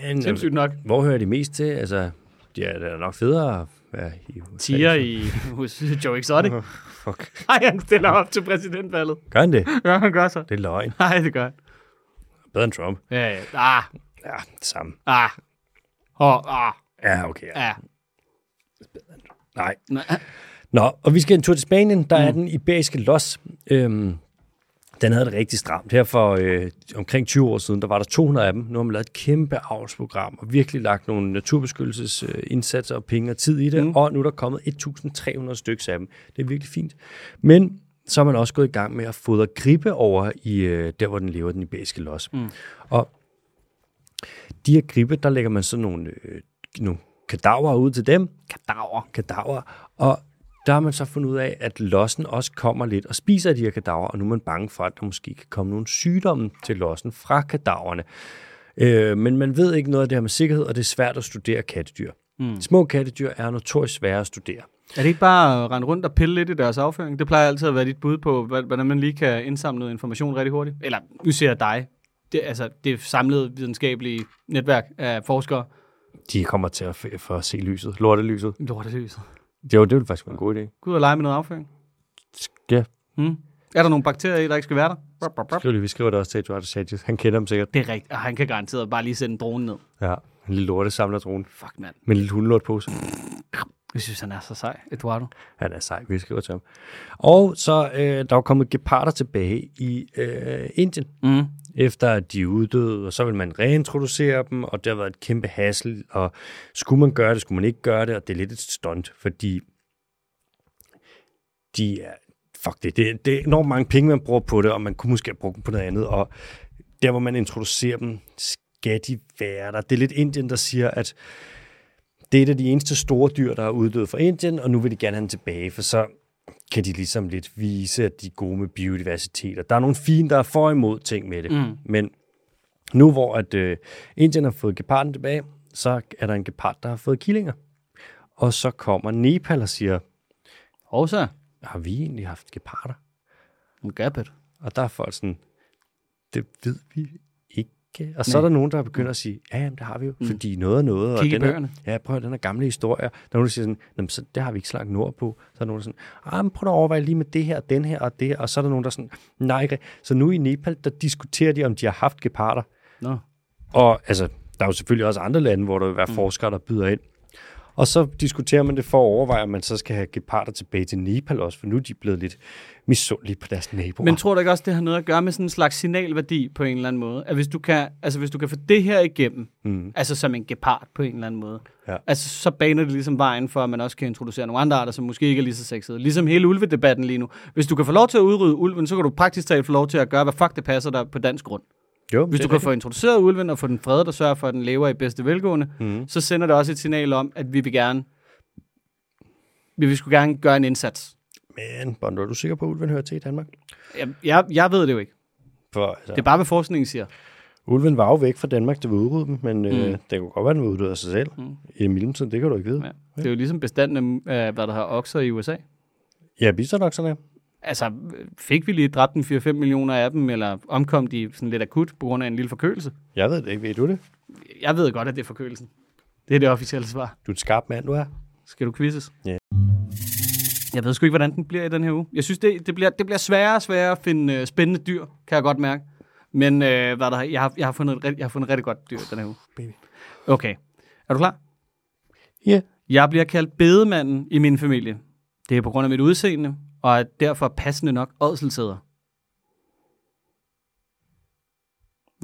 Speaker 1: Men øh,
Speaker 2: sindssygt nok.
Speaker 1: hvor hører de mest til? Altså, de er, det er nok federe at være i USA.
Speaker 2: Tiger i [LAUGHS] hos Joe Exotic. [LAUGHS]
Speaker 1: Fuck.
Speaker 2: Nej, han stiller op til præsidentvalget.
Speaker 1: Gør han det?
Speaker 2: Ja, han gør så.
Speaker 1: Det er løgn.
Speaker 2: Nej, det gør han.
Speaker 1: Bedre end Trump.
Speaker 2: Ja, ja. Ah,
Speaker 1: Ja, det samme.
Speaker 2: ah. ah, Og, ah.
Speaker 1: Ja, okay. Ja.
Speaker 2: Ja.
Speaker 1: Nej.
Speaker 2: Nej.
Speaker 1: Nå, og vi skal en tur til Spanien. Der mm. er den iberiske los. Øhm, den havde det rigtig stramt. Her for øh, omkring 20 år siden, der var der 200 af dem. Nu har man lavet et kæmpe avlsprogram og virkelig lagt nogle naturbeskyttelsesindsatser og penge og tid i det. Mm. Og nu er der kommet 1.300 stykker af dem. Det er virkelig fint. Men så er man også gået i gang med at fodre gribe over i øh, der, hvor den lever, den iberiske los. Mm. Og de her gribe, der lægger man sådan nogle, øh, nogle kadaver ud til dem. Kadaver. Kadaver. Og der har man så fundet ud af, at lossen også kommer lidt og spiser de her kadaver, og nu er man bange for, at der måske kan komme nogle sygdomme til lossen fra kadaverne. Øh, men man ved ikke noget af det her med sikkerhed, og det er svært at studere kattedyr. Mm. Små kattedyr er notorisk svære at studere.
Speaker 2: Er det ikke bare at rende rundt og pille lidt i deres afføring? Det plejer altid at være dit bud på, hva- hvordan man lige kan indsamle noget information rigtig hurtigt. Eller nu ser jeg dig. Det, altså, det samlede videnskabelige netværk af forskere.
Speaker 1: De kommer til at, f- for at se lyset, lortelyset.
Speaker 2: Lortelyset.
Speaker 1: Det var, det ville faktisk være en god idé.
Speaker 2: Gå ud og lege med noget afføring.
Speaker 1: Ja,
Speaker 2: Hmm. Er der nogle bakterier i, der ikke skal være der? Brop, brop, brop.
Speaker 1: skriv lige, vi skriver det også til Eduardo Sanchez. Han kender dem sikkert.
Speaker 2: Det er rigtigt. Og han kan garanteret bare lige sende dronen ned.
Speaker 1: Ja, en lille lorte samler dronen
Speaker 2: Fuck, mand.
Speaker 1: med en lille hundelortpose.
Speaker 2: Jeg synes, han er så sej, Eduardo.
Speaker 1: Han er sej, vi skriver til ham. Og så øh, der er jo kommet geparder tilbage i øh, Indien,
Speaker 2: Mm.
Speaker 1: efter at de er uddøde, og så vil man reintroducere dem, og det har været et kæmpe hassel, og skulle man gøre det, skulle man ikke gøre det, og det er lidt et stunt, fordi de er, fuck det, det, det er enormt mange penge, man bruger på det, og man kunne måske have brugt dem på noget andet, og der, hvor man introducerer dem, skal de være der. Det er lidt Indien, der siger, at det er et af de eneste store dyr, der er uddøde fra Indien, og nu vil de gerne have den tilbage, for så kan de ligesom lidt vise, at de er gode med biodiversitet. Og der er nogle fine, der er for og imod ting med det. Mm. Men nu hvor at øh, Indien har fået geparden tilbage, så er der en gepard, der har fået killinger. Og så kommer Nepal og siger,
Speaker 2: Og så.
Speaker 1: har vi egentlig haft geparder?
Speaker 2: En gabbet.
Speaker 1: Og der er folk sådan, det ved vi ikke. Og så er der nogen, der begynder at sige, ja, jamen, det har vi jo, mm. fordi noget er noget.
Speaker 2: Kig i
Speaker 1: og den her,
Speaker 2: bøgerne.
Speaker 1: ja, prøv at høre, den her gamle historie. Der er nogen, der siger sådan, jamen, så, det har vi ikke slagt nord på. Så er der nogen, der sådan, ah, men prøv at overveje lige med det her, den her og det her. Og så er der nogen, der sådan, nej. ikke rigtigt." Så nu i Nepal, der diskuterer de, om de har haft geparder.
Speaker 2: Nå.
Speaker 1: Og altså, der er jo selvfølgelig også andre lande, hvor der vil være mm. forskere, der byder ind. Og så diskuterer man det for at overveje, om man så skal have geparder tilbage til Nepal også, for nu er de blevet lidt misundelige på deres naboer.
Speaker 2: Men tror du ikke også, det har noget at gøre med sådan en slags signalværdi på en eller anden måde? At hvis du kan, altså hvis du kan få det her igennem, mm. altså som en gepard på en eller anden måde,
Speaker 1: Ja.
Speaker 2: altså så baner det ligesom vejen for, at man også kan introducere nogle andre arter, som måske ikke er lige så sexede. Ligesom hele ulvedebatten lige nu. Hvis du kan få lov til at udrydde ulven, så kan du praktisk talt få lov til at gøre, hvad fuck det passer dig på dansk grund.
Speaker 1: jo,
Speaker 2: Hvis
Speaker 1: det
Speaker 2: du
Speaker 1: er
Speaker 2: kan få introduceret ulven og få den fredet og sørge for, at den lever i bedste velgående,
Speaker 1: Mhm.
Speaker 2: mm. så sender det også et signal om, at vi vil gerne, vi vil sgu gerne gøre en indsats.
Speaker 1: Men, Bondo, er du sikker på, at ulven hører til i Danmark?
Speaker 2: Jeg, jeg, jeg ved det jo ikke.
Speaker 1: For, altså,
Speaker 2: Det er
Speaker 1: det...
Speaker 2: bare, hvad forskningen siger.
Speaker 1: Ulven var jo væk fra Danmark, det var udryddet dem, men mm. øh, det kunne godt være, den var uddød af sig selv. Mm. I mellemtiden, det kan du ikke vide.
Speaker 2: Ja.
Speaker 1: Ja,
Speaker 2: Det er jo ligesom bestanden af, øh, hvad der har okser i USA.
Speaker 1: ja bisonokserne.
Speaker 2: Altså, fik vi lige dræbt en 4-5 millioner af dem, eller omkom de sådan lidt akut på grund af en lille forkølelse?
Speaker 1: Jeg ved det ikke, ved du det?
Speaker 2: Jeg ved godt, at det er forkølelsen. Det er det officielle svar.
Speaker 1: Du er en skarp mand, du er.
Speaker 2: Skal du quizzes?
Speaker 1: Ja.
Speaker 2: Jeg ved sgu ikke, hvordan den bliver i den her uge. Jeg synes, det, det, bliver, det bliver sværere og sværere at finde øh, spændende dyr, kan jeg godt mærke. Men øh, hvad der, jeg, har, jeg, har fundet et, rigt- jeg har fundet et rigtig godt dyr den her uge.
Speaker 1: Baby.
Speaker 2: Okay. Er du klar?
Speaker 1: Ja.
Speaker 2: Jeg bliver kaldt bedemanden i min familie. Det er på grund af mit udseende, og er derfor passende nok ådselsæder.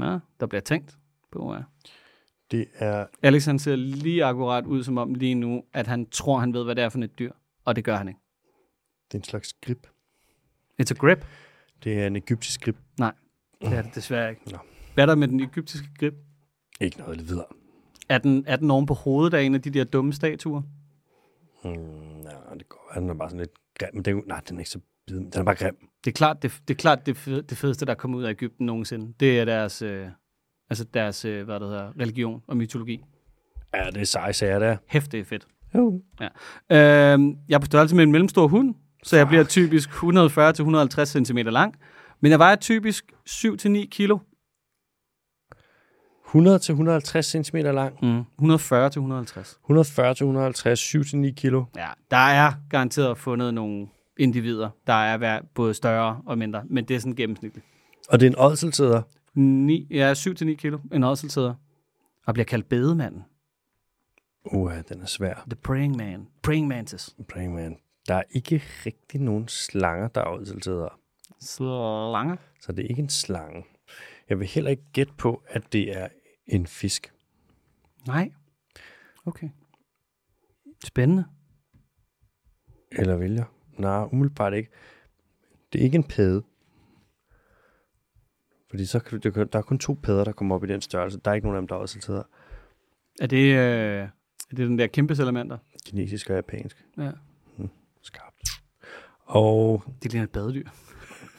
Speaker 2: Ja, der bliver tænkt på, ja.
Speaker 1: Det er...
Speaker 2: Alex han ser lige akkurat ud som om lige nu, at han tror, han ved, hvad det er for et dyr. Og det gør han ikke.
Speaker 1: det er en slags grip.
Speaker 2: It's a grip.
Speaker 1: Det er en egyptisk grip.
Speaker 2: Nej, det er det desværre ikke.
Speaker 1: Nå.
Speaker 2: Hvad er der med den egyptiske grip?
Speaker 1: Ikke noget lidt videre.
Speaker 2: Er den, er den oven på hovedet af en af de der dumme statuer?
Speaker 1: Mm, nej, det går. Den er bare sådan lidt grim. Men den, nej, den er ikke så bid. Den er bare grim.
Speaker 2: Det er klart, det, det, er klart det, fed, det fedeste, der er kommet ud af Ægypten nogensinde. Det er deres, øh, altså deres øh, hvad det hedder, religion og mytologi.
Speaker 1: Ja, det er seje sager, det er.
Speaker 2: Hæft, det er fedt.
Speaker 1: Jo.
Speaker 2: Ja. Øh, jeg er på størrelse med en mellemstor hund, så jeg bliver typisk 140-150 cm lang. Men jeg vejer typisk 7-9 kilo.
Speaker 1: 100-150 cm lang.
Speaker 2: Mm. 140-150.
Speaker 1: 140-150, 7-9 kilo.
Speaker 2: Ja, der er garanteret fundet nogle individer, der er hver- både større og mindre, men det er sådan gennemsnitligt.
Speaker 1: Og det er en ådselsæder.
Speaker 2: 9, ja, 7-9 kilo, en ådselsæder, og bliver kaldt bedemanden.
Speaker 1: Uha, den er svær.
Speaker 2: The Praying Man. Praying Mantis.
Speaker 1: Praying Man. Der er ikke rigtig nogen slanger, der er udsalteret
Speaker 2: Slanger.
Speaker 1: Så det er ikke en slange. Jeg vil heller ikke gætte på, at det er en fisk.
Speaker 2: Nej. Okay. Spændende.
Speaker 1: Eller vil jeg? Nej, umiddelbart ikke. Det er ikke en pæde. Fordi så kan, du- der, der er kun to pæder, der kommer op i den størrelse. Der er ikke nogen af dem, der er udsalteret
Speaker 2: Er det, øh, er det den der kæmpe salamander?
Speaker 1: Kinesisk og japansk. Hmm,
Speaker 2: Ja.
Speaker 1: Skarpt. Og
Speaker 2: Det ligner et badedyr.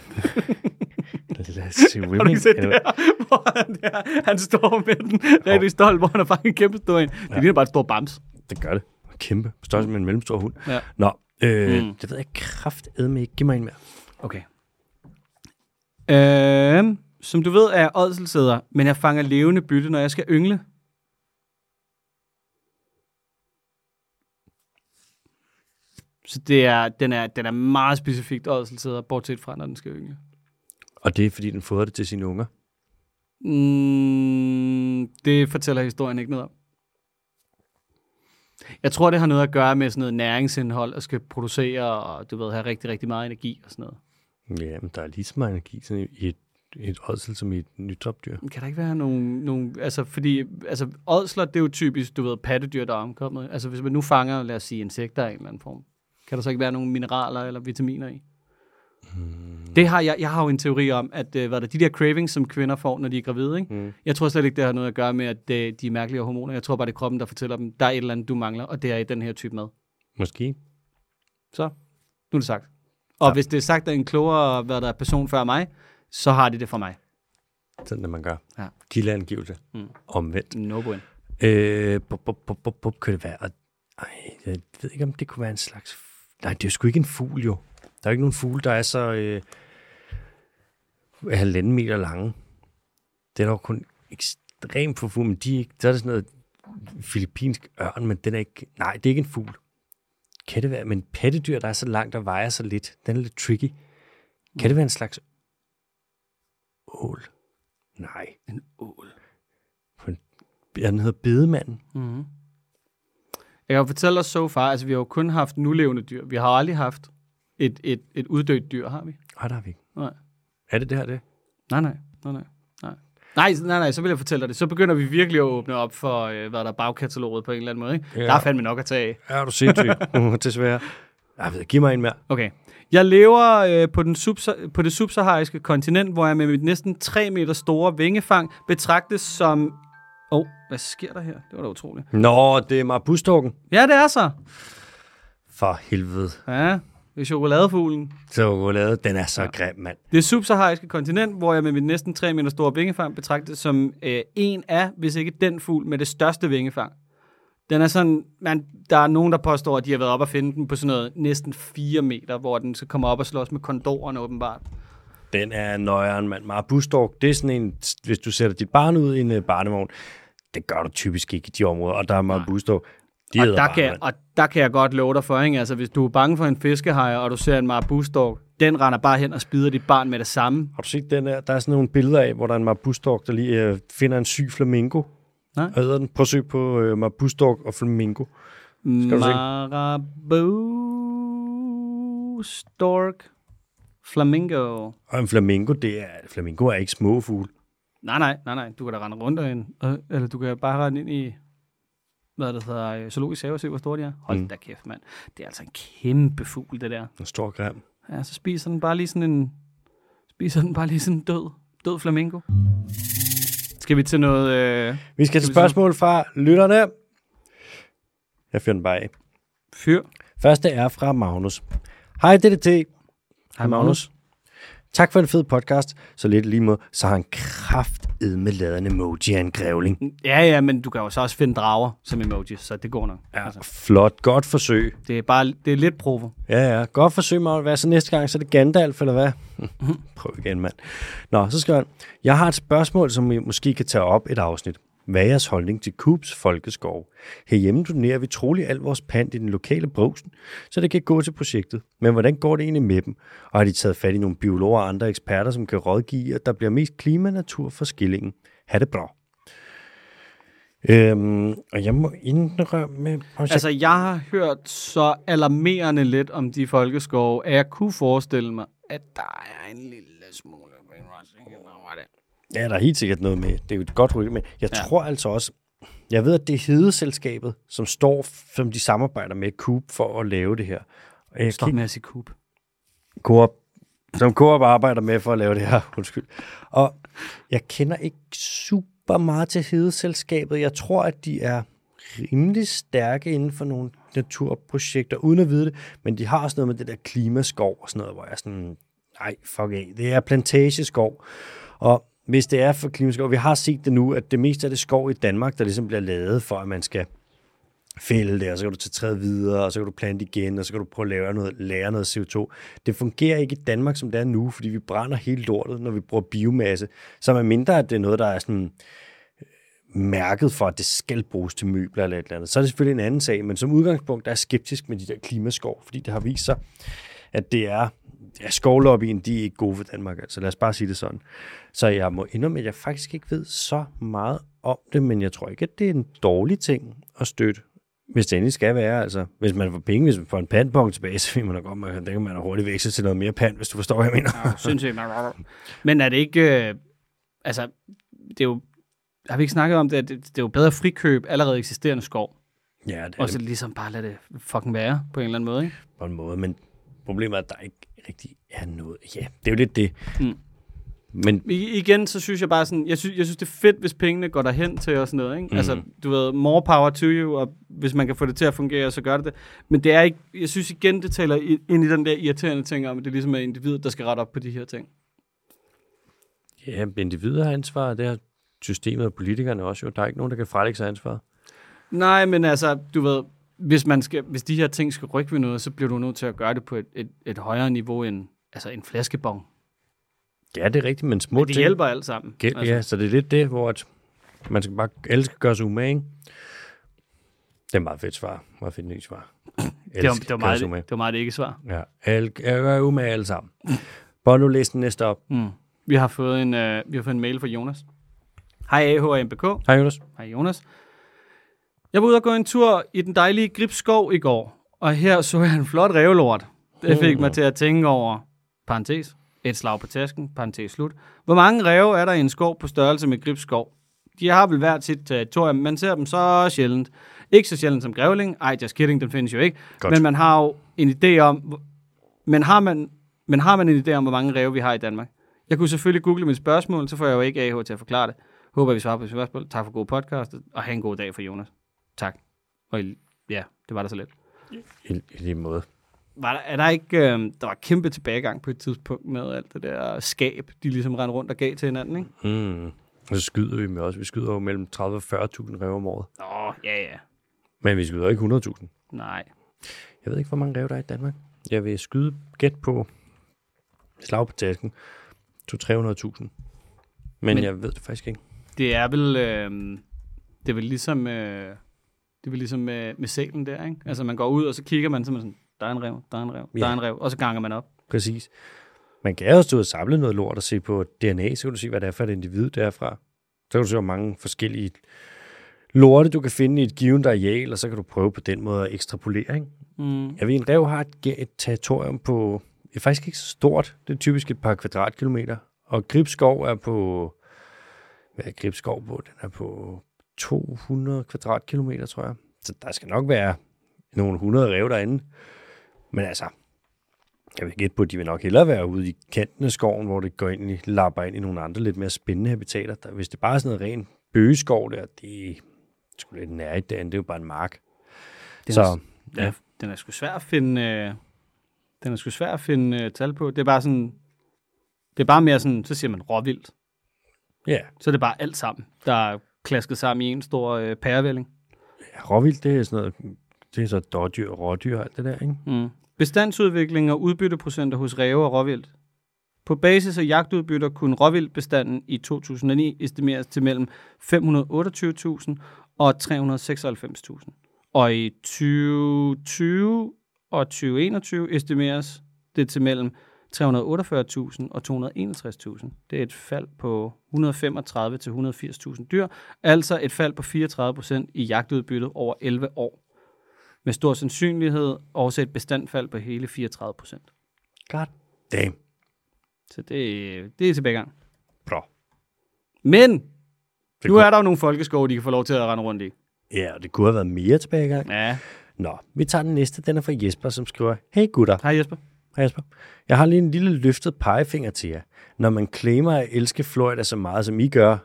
Speaker 1: let's see
Speaker 2: [LAUGHS] Har du
Speaker 1: winning.
Speaker 2: ikke set det
Speaker 1: Eller-
Speaker 2: her, [LAUGHS] hvor han, der, han står med den rigtig stolt, hvor han har fanget en kæmpe stor en. Det ligner bare et stort bams.
Speaker 1: Det gør det. Kæmpe. Størrelse med en mellemstor hund.
Speaker 2: Ja.
Speaker 1: Nå, øh,
Speaker 2: Mm.
Speaker 1: mm. det ved jeg kraftedme ikke. Giv mig en mere.
Speaker 2: Okay. Øhm, som du ved, er jeg ådselsæder, men jeg fanger levende bytte, når jeg skal yngle. Så det er, den, er, den er meget specifikt ådselsæder, bortset fra, når den skal yngle.
Speaker 1: Og det er, fordi den fodrer det til sine unger.
Speaker 2: Mm, det fortæller historien ikke noget om. Jeg tror, det har noget at gøre med sådan noget næringsindhold, og skal producere, og du ved, have rigtig, rigtig meget energi og sådan noget.
Speaker 1: Ja, men der er lige så meget energi sådan i et, i et ådsel som i et nydropdyr.
Speaker 2: Kan der ikke være nogle, nogle altså fordi, altså ådsler, det er jo typisk, du ved, pattedyr, der er omkommet. Altså hvis man nu fanger, lad os sige, insekter af en eller anden form, kan der så ikke være nogle mineraler eller vitaminer i? Hmm. Det har jeg, jeg har jo en teori om, at øh, hvad der, de der cravings, som kvinder får, når de er gravide, ikke? Hmm. jeg tror slet ikke, det har noget at gøre med, at øh, de er mærkelige hormoner. Jeg tror bare, det er kroppen, der fortæller dem, der er et eller andet, du mangler, og det er i den her type mad.
Speaker 1: Måske.
Speaker 2: Så, nu er det sagt. Og ja. hvis det er sagt af en klogere, hvad der er person før mig, så har de det fra mig.
Speaker 1: Sådan, at man gør.
Speaker 2: Ja.
Speaker 1: Kildeangivelse. Mm. Omvendt.
Speaker 2: No bueno.
Speaker 1: Øh, bup, bup, bup, bup, bup, kan det være? Og, ej, jeg ved ikke, om det kunne være en slags... Nej, det er jo sgu ikke en fugl, jo. Der er jo ikke nogen fugle, der er så... Øh, halvanden meter lange. Det er dog kun ekstremt få fugle, men de er ikke... Der er det sådan noget filippinsk ørn, men den er ikke... Nej, det er ikke en fugl. Kan det være? Men pattedyr, der er så langt og vejer så lidt, den er lidt tricky. Kan det være en slags ål? Nej.
Speaker 2: En ål.
Speaker 1: Den hedder bedemanden.
Speaker 2: Mm-hmm. Jeg kan jo fortælle dig so far, altså vi har jo kun haft nulevende dyr. Vi har aldrig haft et, et, et uddødt dyr, har vi?
Speaker 1: Nej, der har vi ikke.
Speaker 2: Nej.
Speaker 1: Er det det her, det?
Speaker 2: Nej, nej, nej, nej. Nej, nej, nej, nej så vil jeg fortælle dig det. Så begynder vi virkelig at åbne op for, øh, hvad der er bagkataloget på en eller anden måde. Ikke? Ja.
Speaker 1: Ja.
Speaker 2: Der er fandme nok at tage af.
Speaker 1: Er du sindssyg?
Speaker 2: [LAUGHS]
Speaker 1: Desværre. Jeg ved, giv mig en mere.
Speaker 2: Okay. Jeg lever øh, på, den subsa- på det subsahariske kontinent, hvor jeg med mit næsten 3 meter store vingefang betragtes som... Åh, oh, hvad sker der her? Det var da utroligt.
Speaker 1: Nå, det er mig bustorken.
Speaker 2: Ja, det er så.
Speaker 1: For helvede.
Speaker 2: Ja, det er chokoladefuglen.
Speaker 1: Chokolade, den er så ja. grim, mand.
Speaker 2: Det subsahariske kontinent, hvor jeg med mit næsten 3 meter store vingefang betragtes som øh, en af, hvis ikke den fugl, med det største vingefang. Den er sådan, man, der er nogen, der påstår, at de har været op og finde den på sådan noget næsten 4 meter, hvor den så kommer op og slås med kondorerne åbenbart.
Speaker 1: Den er nøjeren, mand. Mara bustork, det er sådan en, hvis du sætter dit barn ud i en uh, barnevogn, det gør du typisk ikke i de områder, og der er meget bustork. De
Speaker 2: og,
Speaker 1: æder
Speaker 2: der
Speaker 1: bare,
Speaker 2: kan,
Speaker 1: mand.
Speaker 2: og der kan jeg godt love dig for, ikke? Altså, hvis du er bange for en fiskehej, og du ser en marabustork, den render bare hen og spider dit barn med det samme.
Speaker 1: Har du set den der? Der er sådan nogle billeder af, hvor der er en marbustork, der lige uh, finder en syg flamingo.
Speaker 2: Nej.
Speaker 1: Og æder den. Prøv at søg på uh, marbustork og flamingo. du se.
Speaker 2: Marabustork. Flamingo.
Speaker 1: Og en flamingo, det er, flamingo er ikke små fugle.
Speaker 2: Nej, nej, nej, nej. Du kan da rende rundt derinde. Øh, Eller du kan bare rende ind i, hvad det hedder, øh, zoologisk have og se, hvor store de er. Hold mm. da kæft, mand. Det er altså en kæmpe fugl, det der.
Speaker 1: En stor grim.
Speaker 2: Ja, så spiser den bare lige sådan en, spiser den bare lige sådan en død, død flamingo. Skal vi til noget... Øh,
Speaker 1: Vi skal til
Speaker 2: vi så-
Speaker 1: spørgsmål fra lytterne. Jeg fyrer den bare af.
Speaker 2: fyr?
Speaker 1: Første er fra Magnus. Hej DDT.
Speaker 2: Hej,
Speaker 1: Mhm. Tak for en fed podcast. Så lidt lige måde, så har han kraftedme lavet en emoji af en grævling.
Speaker 2: Ja, ja, men du kan jo så også finde drager som emoji, så det går nok.
Speaker 1: Ja, altså. flot. Godt forsøg.
Speaker 2: Det er bare det er lidt provo.
Speaker 1: Ja, ja. Godt forsøg, Magnus. Hvad så næste gang? Så er det Gandalf, eller hvad? [LAUGHS] Prøv igen, mand. Nå, så skal jeg. Jeg har et spørgsmål, som I måske kan tage op et afsnit. Hvad er jeres holdning til Coops Folkeskov? Herhjemme donerer vi trolig al vores pant i den lokale brugsen, så det kan gå til projektet. Men hvordan går det egentlig med dem? Og har de taget fat i nogle biologer og andre eksperter, som kan rådgive, at der bliver mest klima og natur for skillingen? Ha' det bra.
Speaker 3: Øhm, og jeg må indrømme... Altså,
Speaker 2: Altså, jeg har hørt så alarmerende lidt om de folkeskove, at jeg kunne forestille mig, at der er en lille smule brainwashing hen over det.
Speaker 3: ja, der er helt sikkert noget med. Det er jo et godt rygte, men jeg ja. tror altså også... Jeg ved, at det er Hedeselskabet, som står, som de samarbejder med Coop for at lave det her. Og jeg
Speaker 2: Stop med at sige [LAUGHS] kub.
Speaker 3: Coop, som Coop arbejder med for at lave det her. [LAUGHS] Undskyld. Og jeg kender ikke super meget til hedeselskabet. Jeg tror, at de er rimelig stærke inden for nogle naturprojekter, uden at vide det. Men de har sådan noget med det der klimaskov og sådan noget, hvor jeg er sådan, nej, fuck af. Det er plantageskov. Og hvis det er for klimaskov, vi har set det nu, at det meste af det skov i Danmark, der ligesom bliver lavet for, at man skal fælde det, og så kan du tage træet videre, og så kan du plante igen, og så kan du prøve at lave noget, lære noget CO2. Det fungerer ikke i Danmark, som det er nu, fordi vi brænder hele lortet, når vi bruger biomasse, som er mindre, at det er noget, der er sådan øh, mærket for, at det skal bruges til møbler eller et eller andet. Så er det selvfølgelig en anden sag, men som udgangspunkt der er jeg skeptisk med de der klimaskov, fordi det har vist sig, at det er ja, skovlobbyen, de er ikke gode for Danmark, altså lad os bare sige det sådan. Så jeg må indrømme, at jeg faktisk ikke ved så meget om det, men jeg tror ikke, at det er en dårlig ting at støtte, hvis det endelig skal være. Altså, hvis man får penge, hvis man får en pandbong
Speaker 1: [LAUGHS]
Speaker 3: tilbage, så vil man da godt, man, det kan man da hurtigt veksle til noget mere pand, hvis du forstår, hvad jeg mener.
Speaker 1: [LAUGHS]
Speaker 2: Sindssygt. Men er det ikke... Øh, altså, det er jo... Har vi ikke snakket om det? at Det, det er jo bedre at frikøbe allerede eksisterende skov,
Speaker 3: Ja, det er
Speaker 2: og
Speaker 3: det
Speaker 2: så ligesom bare lade det fucking være på en eller anden måde, ikke?
Speaker 3: på en måde, men problemet er, at der ikke rigtig er noget. Ja, det er jo lidt det.
Speaker 2: Mm.
Speaker 3: Men
Speaker 2: I, igen, så synes jeg bare sådan, jeg synes, jeg synes, det er fedt, hvis pengene går derhen til og sådan noget, ikke? Mm. Altså, du ved, more power to you, og hvis man kan få det til at fungere, så gør det det. Men det er ikke, jeg synes igen, det taler i- ind i den der irriterende ting om, at det ligesom er individet, der skal rette op på de her ting.
Speaker 1: Ja, men individer har ansvar, og det har systemet og politikerne også jo. Der er ikke nogen, der kan frelægge sig ansvar.
Speaker 2: Nej, men altså, du ved, hvis, man skal, hvis de her ting skal rykke ved noget, så bliver du nødt til at gøre det på et, et, et højere niveau end altså en flæskebong.
Speaker 1: Ja, det er rigtigt, men små
Speaker 2: Det
Speaker 1: ting-
Speaker 2: hjælper alt sammen.
Speaker 1: Gæld, altså. ja, så det er lidt det, hvor at man skal bare, alle skal gøre sig umage, ikke? Det er et meget fedt svar. Meget fedt nyt svar.
Speaker 2: det, var,
Speaker 1: Alle skal
Speaker 2: det,
Speaker 1: gøre
Speaker 2: var meget,
Speaker 1: sig
Speaker 2: det,
Speaker 1: umage.
Speaker 2: var meget et ikke-svar.
Speaker 1: Ja, alle, jeg gør umage alle sammen. Bono læs den næste op.
Speaker 2: Mm. Vi, har fået en, øh, vi har fået en mail fra Jonas. Hej AH og MBK.
Speaker 1: Hej Jonas.
Speaker 2: Hej Jonas. Jeg var ude og gå en tur i den dejlige Gribskov i går, og her så jeg en flot revlort. Det fik mig til at tænke over, parentes, et slag på tasken, parentes slut. Hvor mange ræve er der i en skov på størrelse med Gribskov? De har vel hvert sit territorium, man ser dem så sjældent. Ikke så sjældent som grævling, ej, just kidding, den findes jo ikke.
Speaker 1: Godt.
Speaker 2: Godt. Men man har jo en idé om, men har, man, men har man en idé om, hvor mange ræve vi har i Danmark? Jeg kunne selvfølgelig google mit spørgsmål, så får jeg jo ikke AH til at forklare det. Håber, vi svarer på spørgsmål. Tak for god podcast, og have en god dag for Jonas. Tak. Og i- ja, det var der så lidt.
Speaker 1: I, i lige måde.
Speaker 2: Var der, er der ikke, øh, der var kæmpe tilbagegang på et tidspunkt med alt det der skab, de ligesom rendte rundt og gav til hinanden, ikke?
Speaker 1: Mm. Og så skyder vi med også. Vi skyder jo mellem 30.000 og 40.000 rev om året.
Speaker 2: Nå, ja, ja.
Speaker 1: Men vi skyder ikke 100.000.
Speaker 2: Nej.
Speaker 1: Jeg ved ikke, hvor mange rev der er i Danmark. Jeg vil skyde gæt på slag på tasken. 200-300.000. Men, Men
Speaker 2: Men-
Speaker 1: jeg ved det faktisk ikke.
Speaker 2: Det er vel, øh, det er vel ligesom, øh, det er vel ligesom med, med sælen der, ikke? Altså man går ud, og så kigger man, så er man sådan, der er en rev, der er en rev, der
Speaker 1: Ja.
Speaker 2: er en rev, og så ganger man op.
Speaker 1: Præcis. Man kan jo stå og samle noget lort og se på DNA, så kan du se, hvad det er for et individ derfra. Så kan du se, hvor mange forskellige lorte, du kan finde i et givent areal, og så kan du prøve på den måde at ekstrapolere. Ikke?
Speaker 2: Mm.
Speaker 1: Jeg ved, en rev har et, ge- et territorium på, det er faktisk ikke så stort, det er typisk et par kvadratkilometer, og Gribskov er på, hvad er Gribskov på? Den er på 200 kvadratkilometer, tror jeg. Så der skal nok være nogle 100 rev derinde. Men altså, jeg vil gætte på, at de vil nok hellere være ude i kanten af skoven, hvor det går ind i, lapper ind i nogle andre lidt mere spændende habitater. Der, hvis det bare er sådan noget ren bøgeskov der, det er sgu lidt nærigt derinde. Det er jo bare en mark.
Speaker 2: Det er
Speaker 1: Så,
Speaker 2: også- Ja. Den er sgu svær at finde, øh, den er sgu svær at finde øh, tal på. Det er bare sådan, det er bare mere sådan, så siger man råvildt.
Speaker 1: ja. Yeah.
Speaker 2: Så er det bare alt sammen, der er klasket sammen i en stor øh, pærevælling.
Speaker 1: Ja, råvildt, det er sådan noget, det er så dårdyr og rådyr og alt det der, ikke?
Speaker 2: Mm. Bestandsudvikling og udbytteprocenter hos ræve og råvildt. På basis af jagtudbytter kunne råvildbestanden i 2009 estimeres til mellem 528.000 og 396.000. Og i 2020 og 2021 estimeres det til mellem 348.000 og 261.000. Det er et fald på 135-180.000 dyr, altså et fald på 34 procent i jagtudbyttet over 11 år. Med stor sandsynlighed også et bestandfald på hele 34 procent.
Speaker 3: God.
Speaker 1: Damn.
Speaker 2: Så det, det er tilbagegang.
Speaker 1: Bra.
Speaker 2: Men
Speaker 1: Det
Speaker 2: nu
Speaker 1: kunne,
Speaker 2: er der jo nogle folkeskove, de kan få lov til at rende rundt i.
Speaker 1: ja, det kunne have været mere tilbagegang.
Speaker 2: Ja.
Speaker 1: Nå, vi tager den næste. Den er fra Jesper, som skriver, Hey gutter,
Speaker 2: Hej Jesper.
Speaker 1: Hej Jesper. Jeg har lige en lille løftet pegefinger til jer. Når man claimer at elske Florida så meget, som I gør,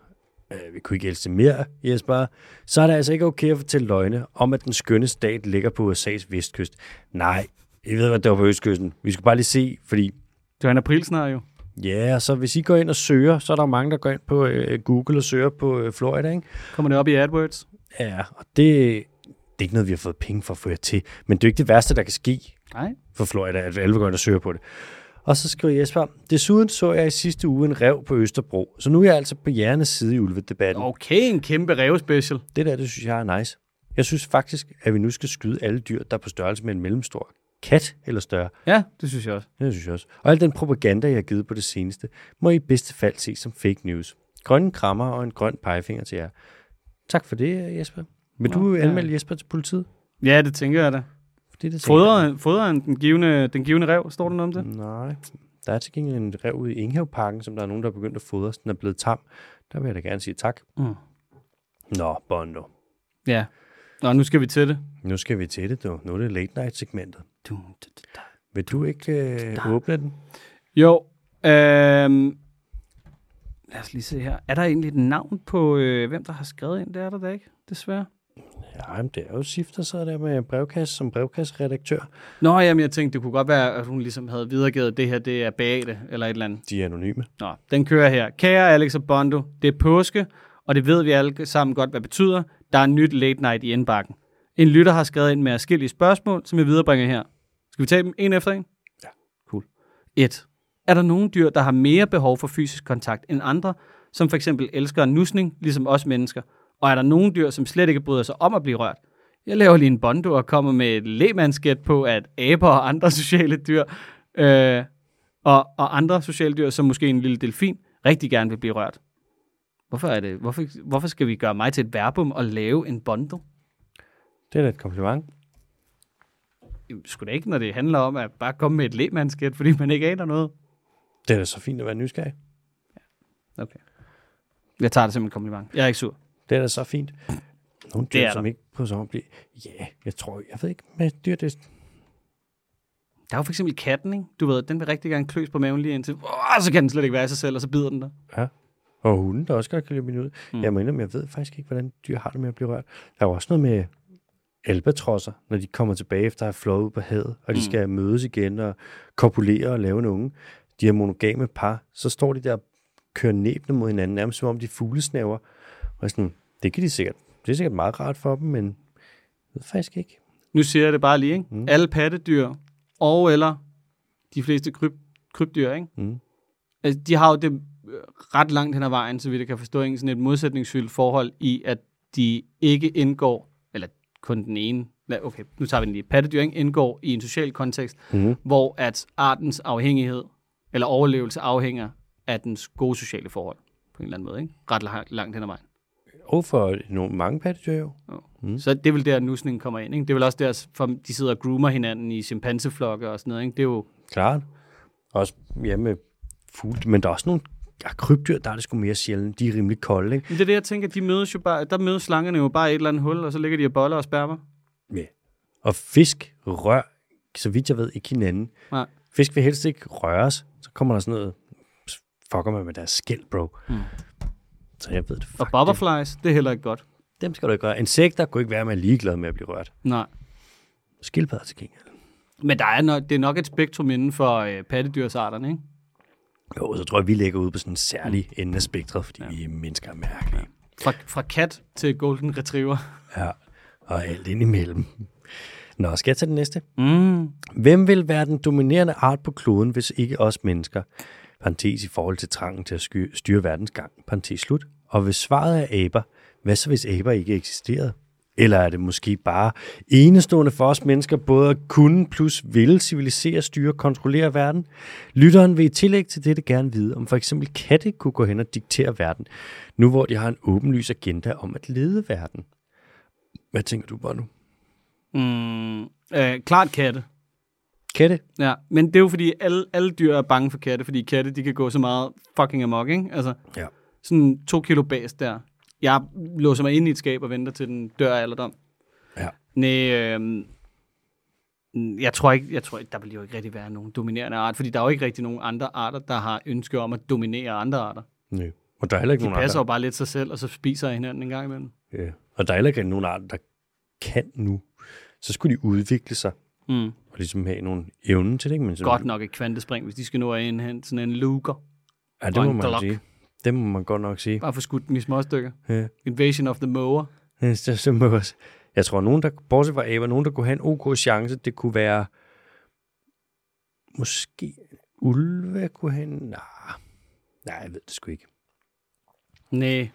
Speaker 1: øh, vi kunne ikke elske mere, Jesper, så er det altså ikke okay at fortælle løgne om, at den skønne stat ligger på USA's vestkyst. Nej, I ved, hvad det var på østkysten. Vi skulle bare lige se, fordi
Speaker 2: Det var en april snart jo.
Speaker 1: ja, yeah, så hvis I går ind og søger, så er der mange, der går ind på øh, Google og søger på øh, Florida, ikke?
Speaker 2: Kommer det op i AdWords?
Speaker 1: Ja, og det, det er ikke noget, vi har fået penge for at få jer til, men det er jo ikke det værste, der kan ske
Speaker 2: Nej.
Speaker 1: for Florida, at alle går ind og søger på det. Og så skriver Jesper, desuden så jeg i sidste uge en rev på Østerbro, så nu er jeg altså på jernes side i ulvedebatten. Oh.
Speaker 2: Okay, en kæmpe revspecial.
Speaker 1: Det der, det synes jeg er nice. Jeg synes faktisk, at vi nu skal skyde alle dyr, der er på størrelse med en mellemstor kat eller større.
Speaker 2: Ja, det synes jeg også.
Speaker 1: Det synes jeg også. Og al den propaganda, jeg har givet på det seneste, må i bedste fald ses som fake news. Grønne krammer og en grøn pegefinger til jer. Tak for det, Jesper. Vil
Speaker 2: Nå,
Speaker 1: du
Speaker 2: ja.
Speaker 1: anmelde Jesper til politiet?
Speaker 2: Ja, det tænker jeg da.
Speaker 1: Fordi det tænker jeg-
Speaker 2: Fodrer, fodrer han den givende, den givende rev? Står der noget om det?
Speaker 1: Nej. Der er til gengæld en rev ude i Enghaveparken, som der er nogen, der er begyndt at fodre, så den er blevet tam. Der vil jeg da gerne sige tak.
Speaker 2: Mm.
Speaker 1: Nå, Bondo.
Speaker 2: Ja. Nå, nu skal vi til det.
Speaker 1: Nu skal vi til det, du. Nu er det late night segmentet. Vil du ikke øh, åbne den?
Speaker 2: Jo. Øhm, lad os lige se her. Er der egentlig et navn på, øh, hvem der har skrevet ind? Det er der da ikke, desværre.
Speaker 1: Ja, men det er jo Sif, der sidder der med brevkasse som brevkasseredaktør.
Speaker 2: Nå, jamen, jeg tænkte, det kunne godt være, at hun ligesom havde videregivet, det her det er Beate, eller et eller andet.
Speaker 1: De er anonyme.
Speaker 2: Nå, den kører her. Kære Alex og Bondo, det er påske, og det ved vi alle sammen godt, hvad betyder. Der er nyt late night i indbakken. En lytter har skrevet ind med forskellige spørgsmål, som jeg viderebringer her. Skal vi tage dem en efter en?
Speaker 1: Ja.
Speaker 2: Cool. 1. Er der nogle dyr, der har mere behov for fysisk kontakt end andre, som for eksempel elsker en nusning, ligesom os mennesker? Og er der nogle dyr, som slet ikke bryder sig om at blive rørt? Jeg laver lige en bondo og kommer med et lægmandsgæt på, at aber og andre [LAUGHS] sociale dyr øh, og, og andre sociale dyr, som måske en lille delfin, rigtig gerne vil blive rørt. Hvorfor, er det, hvorfor, hvorfor skal vi gøre mig til et verbum og lave en bondo?
Speaker 1: Det er da et kompliment.
Speaker 2: Jamen, Sgu da ikke, når det handler om at bare komme med et lægmandskæt, fordi man ikke aner noget.
Speaker 1: Det er da så fint at være nysgerrig.
Speaker 2: Okay. Jeg tager det som en kompliment. Jeg er ikke sur.
Speaker 1: Det er da så fint. [CLEARS THROAT] Nogle dyr,
Speaker 2: Det er
Speaker 1: som
Speaker 2: der.
Speaker 1: ikke på sig om at blive... Ja, jeg tror, jeg ved ikke, med dyr, det
Speaker 2: Der er jo for eksempel katten, ikke? Du ved, den vil rigtig gerne kløs på maven lige indtil, Åh, så kan den slet ikke være i sig selv, og så bider den der.
Speaker 1: Og hunden, der også godt kan løbe ind ud. Mm. Jeg må indrømme, jeg ved faktisk ikke, hvordan dyr har det med at blive rørt. Der er jo også noget med albatrosser, når de kommer tilbage efter at have flået ud på havet, og de mm. skal mødes igen og kopulere og lave en unge. De er monogame par, så står de der og kører næbne mod hinanden, nærmest som om de er fuglesnæver. Og jeg er sådan, det kan de sikkert. Det er sikkert meget rart for dem, men jeg ved faktisk ikke.
Speaker 2: Nu siger jeg det bare lige, ikke? Mm. Alle pattedyr og eller de fleste kryb, krybdyr, ikke?
Speaker 1: Mm.
Speaker 2: Altså, de har jo det øh, ret langt hen ad vejen, så vidt jeg kan forstå, ikke sådan et modsætningsfyldt forhold i, at de ikke indgår, eller kun den ene, nej, okay, nu tager vi den lige, pattedyr ikke? indgår i en social kontekst,
Speaker 1: Mhm.
Speaker 2: hvor at artens afhængighed eller overlevelse afhænger af dens gode sociale forhold, på en eller anden måde, ikke? Ret la- langt hen ad vejen.
Speaker 1: Og for nogle mange pattedyr jo.
Speaker 2: Mm. Så det er vel der, nusningen kommer ind. Ikke? Det er vel også der, for de sidder og groomer hinanden i chimpanseflokke og sådan noget. Ikke? Det er jo,
Speaker 1: Klart. Også ja, med fugle, men der er også nogle ja, krybdyr, der er det sgu mere sjældent. De er rimelig kolde, ikke?
Speaker 2: men det er det, jeg tænker, de mødes jo bare, der mødes slangerne jo bare i et eller andet hul, og så ligger de og boller og spermer.
Speaker 1: Ja. Og fisk rør, så vidt jeg ved, ikke hinanden.
Speaker 2: Nej.
Speaker 1: Fisk vil helst ikke røres. Så kommer der sådan noget, "Pss, fucker man med deres skæld, bro. Mm. Så jeg ved det.
Speaker 2: Og
Speaker 1: Fuck,
Speaker 2: butterflies, det er heller ikke godt.
Speaker 1: dem skal du ikke røre. Insekter kunne ikke være med ligeglade med at blive rørt.
Speaker 2: Nej.
Speaker 1: Skildpadder til gengæld.
Speaker 2: Men der er nok, det er nok et spektrum inden for øh, pattedyrsarterne, ikke?
Speaker 1: Jo, så tror jeg, vi ligger ude på sådan en særlig ende af spektret, fordi Hmm. ja. vi mennesker er mærkelige.
Speaker 2: Fra, fra kat til golden retriever.
Speaker 1: Ja. Og alt indimellem. Nå, skal jeg tage den næste?
Speaker 2: Mm.
Speaker 1: Hvem vil være den dominerende art på kloden, hvis ikke os mennesker? Parentes i forhold til trangen til at sky- styre verdens gang. Parentes slut. Og hvis svaret er aber, hvad så hvis aber ikke eksisterede? Eller er det måske bare enestående for os mennesker både at kunne plus ville civilisere, styre og kontrollere verden? Lytteren vil i tillæg til dette gerne vide, om for eksempel katte kunne gå hen og diktere verden, nu hvor de har en åbenlys agenda om at lede verden. Hvad tænker du bare nu?
Speaker 2: Mm, øh, klart katte.
Speaker 1: Katte?
Speaker 2: Ja, men det er jo fordi, alle, alle dyr er bange for katte, fordi katte, de kan gå så meget fucking amok, ikke? Altså,
Speaker 1: Ja.
Speaker 2: sådan to kilo bas der. Jeg låser mig ind i et skab og venter til den dør af alderdom.
Speaker 1: Ja.
Speaker 2: Næh, øhm, jeg tror ikke, jeg tror ikke, der vil jo ikke rigtig være nogen dominerende art, fordi der er jo ikke rigtig nogen andre arter, der har ønske om at dominere andre arter.
Speaker 1: Nej. Og der er heller ikke
Speaker 2: De
Speaker 1: nogen
Speaker 2: passer
Speaker 1: andre.
Speaker 2: jo bare lidt sig selv, og så spiser af hinanden en gang imellem.
Speaker 1: Ja. Øh, Og der er heller ikke nogen arter, der kan nu. Så skulle de udvikle sig
Speaker 2: Mm.
Speaker 1: og ligesom have nogle evne til det. Ikke? Men så,
Speaker 2: Godt nok et kvantespring, hvis de skal nå at indhente sådan en luker.
Speaker 1: Ja, det
Speaker 2: og
Speaker 1: må
Speaker 2: en
Speaker 1: man
Speaker 2: Glock.
Speaker 1: sige. Det må man godt nok sige.
Speaker 2: Bare for skudt dem i småstykker.
Speaker 1: Ja.
Speaker 2: Invasion of the Mower.
Speaker 1: Det er simpelthen også. Jeg tror, nogen, der, bortset fra aber, nogen, der kunne have en ok chance, det kunne være måske ulve kunne have en... Nej, nej, jeg ved det sgu ikke.
Speaker 2: Nej,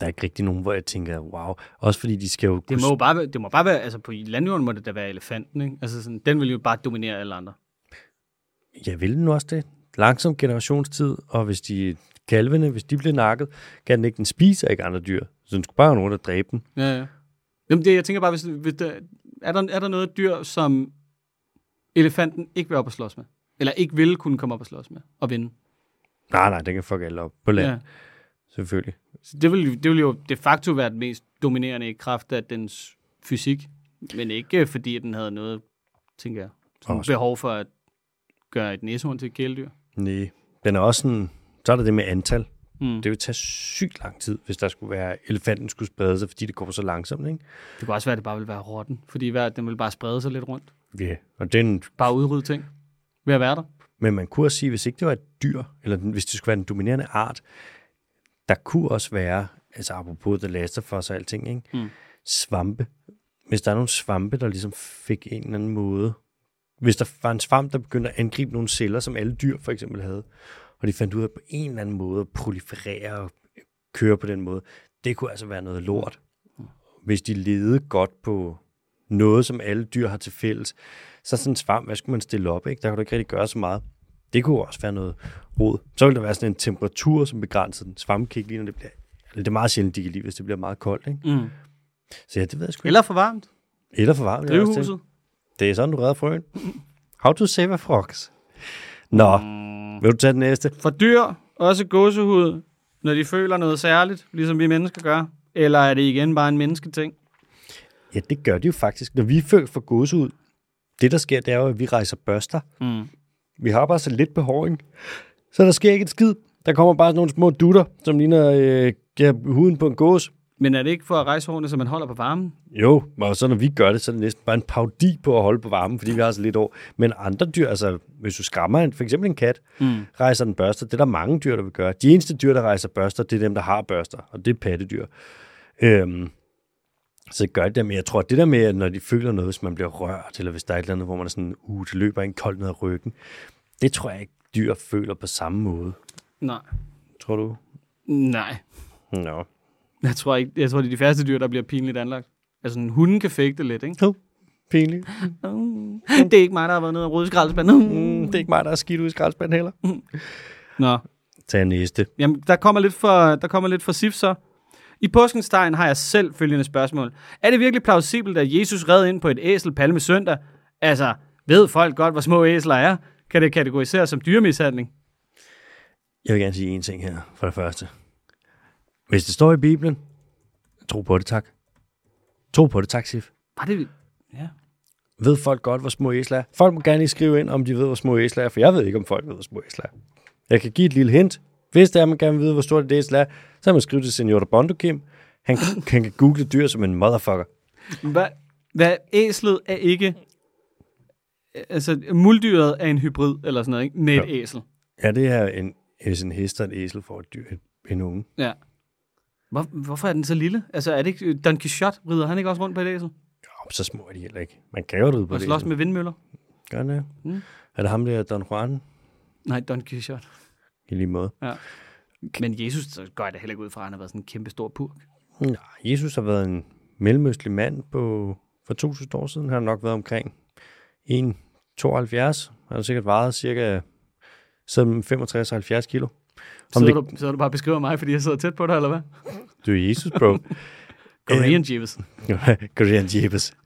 Speaker 1: Der er ikke rigtig nogen, hvor jeg tænker, wow. Også fordi de skal jo...
Speaker 2: det må jo bare, være- det må bare være, altså på landjorden må det da være elefanten, ikke? Altså sådan, den vil jo bare dominere alle andre.
Speaker 1: Jeg vil den nu også det. Langsom generationstid, og hvis de kalvene, hvis de bliver nakket, kan den ikke, den spiser ikke andre dyr. Så den skulle bare have nogen, der dræbe den.
Speaker 2: Ja, ja. Jamen det, jeg tænker bare, hvis, hvis der, er, der, er der noget dyr, som elefanten ikke vil op og slås med? Eller ikke vil kunne komme op og slås med og vinde?
Speaker 1: Nej, nej, den kan fuck alle op på land, ja. selvfølgelig.
Speaker 2: Så det vil, det vil jo de facto være den mest dominerende i kraft af dens fysik, men ikke øh, fordi, at den havde noget, tænker jeg, sådan
Speaker 1: Også.
Speaker 2: behov for at gøre et næsehorn til et kæledyr.
Speaker 1: Nej, den er også sådan... Så er der det med antal.
Speaker 2: Mm.
Speaker 1: Det ville tage sygt lang tid, hvis der skulle være, elefanten skulle sprede sig, fordi det går så langsomt, ikke?
Speaker 2: Det kunne også være, at det bare ville være rotten, fordi hver, den ville bare sprede sig lidt rundt.
Speaker 1: Ja. Yeah. Og den,
Speaker 2: Bare udrydde ting ved at være der.
Speaker 1: men man kunne også sige, hvis ikke det var et dyr, eller den- hvis det skulle være en dominerende art, der kunne også være, altså apropos det laster for sig og alting, ikke?
Speaker 2: Mm.
Speaker 1: Svampe. Hvis der er nogle svampe, der ligesom fik en eller anden måde. Hvis der var en svamp, der begyndte at angribe nogle celler, som alle dyr for eksempel havde, og de fandt ud af på en eller anden måde at proliferere og køre på den måde, det kunne altså være noget lort. Hvis de levede godt på noget, som alle dyr har til fælles, så sådan en svamp, hvad skulle man stille op? Ikke? Der kunne du ikke rigtig gøre så meget. Det kunne også være noget rod. Så ville der være sådan en temperatur, som begrænsede den. Svampe kan ikke lide, når det bliver... Eller det er meget sjældent, de kan lide, hvis det bliver meget koldt. Ikke?
Speaker 2: Mm.
Speaker 1: Så ja, det ved jeg sgu ikke.
Speaker 2: Eller for varmt.
Speaker 1: Eller for varmt. vil jeg også tænke.
Speaker 2: Drivhuset.
Speaker 1: Det er sådan, du redder frøen. How to save a frogs. Nå, mm. vil du tage den næste?
Speaker 2: For dyr, også gåsehud, når de føler noget særligt, ligesom vi mennesker gør. Eller er det igen bare en mennesketing?
Speaker 1: Ja, det gør de jo faktisk. Når vi føler for gods ud, det der sker, det er jo, at vi rejser børster.
Speaker 2: Mm.
Speaker 1: Vi har bare så lidt behåring. Så der sker ikke et skid. Der kommer bare sådan nogle små dutter, som ligner øh, ja, huden på en gås.
Speaker 2: Men er det ikke for at rejse hårene, så man holder på varmen?
Speaker 1: Jo, og så når vi gør det, så er det næsten bare en paudi på at holde på varmen, fordi vi har så lidt år. Men andre dyr, altså hvis du skræmmer en, for eksempel en kat,
Speaker 2: Mm.
Speaker 1: rejser den børster. Det er der mange dyr, der vil gøre. De eneste dyr, der rejser børster, det er dem, der har børster, og det er pattedyr. Øhm, så gør de det, men jeg tror, det der med, at når de føler noget, hvis man bliver rørt, eller hvis der er et eller andet, hvor man er sådan, uh, det løber en koldt ned ad ryggen, det tror jeg ikke, dyr føler på samme måde.
Speaker 2: Nej.
Speaker 1: Tror du?
Speaker 2: Nej.
Speaker 1: Nå.
Speaker 2: Jeg tror, ikke, jeg tror, det er de færreste dyr, der bliver pinligt anlagt. Altså, en hunde kan fægte lidt, ikke?
Speaker 1: Nå, pinligt.
Speaker 2: Mm. Det er ikke mig, der har været nede og rydde skraldespanden. Mm.
Speaker 1: Mm, det er ikke mig, der er skidt ud i skraldspanden heller.
Speaker 2: Nå,
Speaker 1: Tag næste.
Speaker 2: Jamen, der kommer lidt for, der kommer lidt for sif så. I påskens tegn har jeg selv følgende spørgsmål. Er det virkelig plausibelt, at Jesus red ind på et æsel palme søndag? Altså, ved folk godt, hvor små æsler er? Kan det kategoriseres som dyremishandling?
Speaker 1: Jeg vil gerne sige én ting her, for det første. Hvis det står i Bibelen, tro på det, tak. Tro på det, tak, Sif.
Speaker 2: Var det... Ja.
Speaker 1: Ved folk godt, hvor små æsler er? Folk må gerne lige skrive ind, om de ved, hvor små æsler er, for jeg ved ikke, om folk ved, hvor små æsler er. Jeg kan give et lille hint. Hvis der er, man gerne vil vide, hvor stort et æsel er, så kan man skrive til Senor Bondo Kim. Han, han kan google dyr som en motherfucker.
Speaker 2: Hvad, hvad æslet er ikke... Altså, muldyret er en hybrid eller sådan noget, ikke? Med et æsel.
Speaker 1: Ja, det er en, hvis en hest og en æsel for et dyr, en unge.
Speaker 2: Ja. Hvor, hvorfor er den så lille? Altså, er det ikke... Don Quixote rider han ikke også rundt på et æsel?
Speaker 1: Jo, så små er de heller ikke. Man kan jo ride på
Speaker 2: Og
Speaker 1: det.
Speaker 2: slås med vindmøller?
Speaker 1: Gør han det?
Speaker 2: Mm.
Speaker 1: Er det ham der, Don Juan?
Speaker 2: Nej, Don Quixote.
Speaker 1: I lige måde.
Speaker 2: Men Jesus så går jeg da heller ikke ud fra, at han har været sådan en kæmpe stor purk.
Speaker 1: Nej, Jesus har været en mellemøstlig mand på, for 2000 år siden. Han har nok været omkring 1,72. Han har sikkert vejet cirka 65-70 kilo.
Speaker 2: Så det... du, så du bare beskriver mig, fordi jeg sidder tæt på dig, eller hvad?
Speaker 1: Du er Jesus,
Speaker 2: [LAUGHS]
Speaker 1: bro.
Speaker 2: Korean Jeeves.
Speaker 1: Korean Jeepers.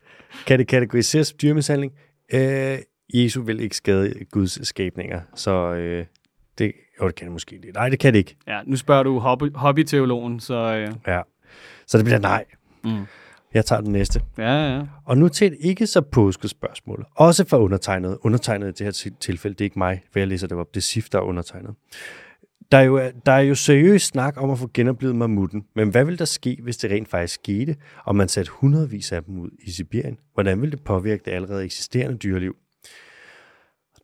Speaker 1: Kan det kategoriseres som dyremishandling? Øh, Jesu vil ikke skade Guds skabninger, så øh, det, jo, det kan det måske lidt. Nej, det kan det ikke.
Speaker 2: Ja, nu spørger du hobby, hobbyteologen, så øh,
Speaker 1: Ja. Så det bliver nej.
Speaker 2: Mm.
Speaker 1: Jeg tager den næste.
Speaker 2: ja, ja.
Speaker 1: Og nu til et ikke så påsket spørgsmål. Også fra undertegnet. Undertegnet i det her til- tilfælde, det er ikke mig, for jeg læser det op. Det er SIF, der er undertegnet. Der er, jo, der er jo seriøs snak om at få genoplevet mammutten, men hvad ville der ske, hvis det rent faktisk skete, og man satte hundredvis af dem ud i Sibirien? Hvordan ville det påvirke det allerede eksisterende dyreliv?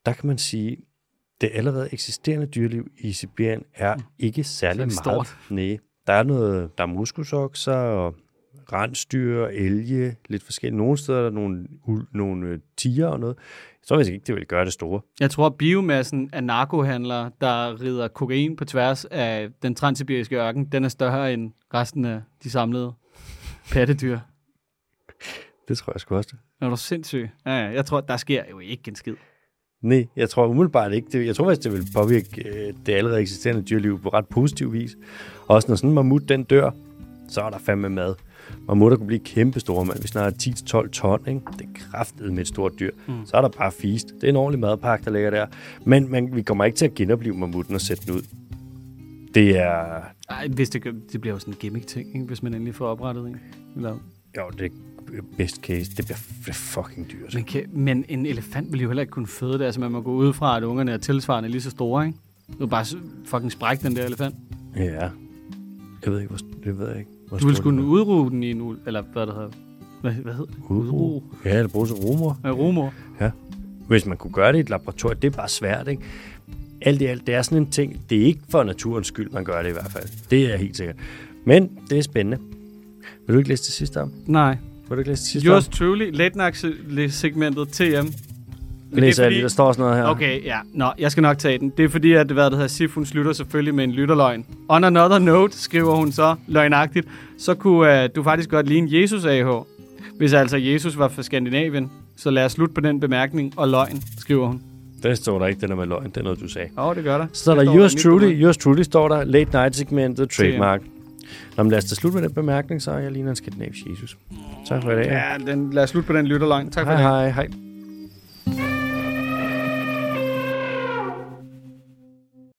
Speaker 1: Der kan man sige, det allerede eksisterende dyreliv i Sibirien er ikke særlig meget.
Speaker 2: Særlig stort.
Speaker 1: Nej, der er noget, der er muskusokser og rensdyr, elge, lidt forskelligt. Nogle steder er der nogle, ul- nogle øh, tiger og noget. Jeg tror faktisk ikke, det ville gøre det store.
Speaker 2: Jeg tror, biomassen af narkohandlere, der rider kokain på tværs af den transsibiriske ørken, den er større end resten af de samlede pattedyr.
Speaker 1: Det tror jeg sgu også.
Speaker 2: Er du sindssyg? Ja, ja, jeg tror, der sker jo ikke en skid.
Speaker 1: Nej, jeg tror umiddelbart ikke. Det, jeg tror faktisk, det vil påvirke øh, det allerede eksisterende dyrliv på ret positiv vis. Også når sådan en mammut, den dør, så er der fandme mad. Mammutter kunne blive kæmpe store, mand. Vi snakker 10-12 ton, ikke? Det er kraftet med et stort dyr. Mm. Så er der bare fist. Det er en ordentlig madpakke, der ligger der. Men man, vi kommer ikke til at genopleve mammutten og sætte den ud. Det er...
Speaker 2: Ej, hvis det, gør, det bliver jo sådan en gimmick-ting, ikke? hvis man endelig får oprettet en. Eller,
Speaker 1: Jo, det er best case. Det bliver f- fucking dyrt.
Speaker 2: man kan, men en elefant vil jo heller ikke kunne føde det. Altså, man må gå ud fra, at ungerne er tilsvarende lige så store, ikke? Du vil bare s- fucking sprække den der elefant.
Speaker 1: Ja. Jeg ved ikke, hvor... Det ved jeg ikke. Hvor
Speaker 2: Du ville
Speaker 1: stor
Speaker 2: skulle
Speaker 1: den er.
Speaker 2: udruge den i en ul, eller hvad det hedder. Hvad, hvad hedder det?
Speaker 1: Udruge. Ja, eller bruges rumor.
Speaker 2: Ja, rumor.
Speaker 1: Ja. Hvis man kunne gøre det i et laboratorium, det er bare svært, ikke? Alt i alt, det er sådan en ting. Det er ikke for naturens skyld, man gør det i hvert fald. Det er helt sikkert. Men det er spændende. Vil du ikke læse det sidste om?
Speaker 2: Nej.
Speaker 1: Vil du ikke læse det sidste
Speaker 2: Yours
Speaker 1: om?
Speaker 2: truly, late night segmentet TM. Men det er
Speaker 1: Læser jeg
Speaker 2: fordi-
Speaker 1: lige, der står sådan noget her.
Speaker 2: Okay, ja. Nå, jeg skal nok tage den. Det er fordi, at hvad det hedder, Sif, hun slutter selvfølgelig med en lytterløgn. On another note, skriver hun så løgnagtigt, så kunne uh, du faktisk godt ligne Jesus AH. Hvis altså Jesus var fra Skandinavien, så lad os slutte på den bemærkning og løgn, skriver hun.
Speaker 1: Det står der ikke, den er med løgn. Det er noget, du sagde.
Speaker 2: Åh, oh, det gør der.
Speaker 1: Så står
Speaker 2: Det
Speaker 1: der, yours
Speaker 2: nyt på
Speaker 1: truly,
Speaker 2: mig.
Speaker 1: yours truly, står der, late night segmentet, trademark. Nå, men lad os da slutte med den bemærkning, så jeg ligner en skandinavisk Jesus. Tak for i dag.
Speaker 2: Ja, den, lad os slutte på den lytterløgn. Tak for
Speaker 1: Hej,
Speaker 2: det.
Speaker 1: hej, hej.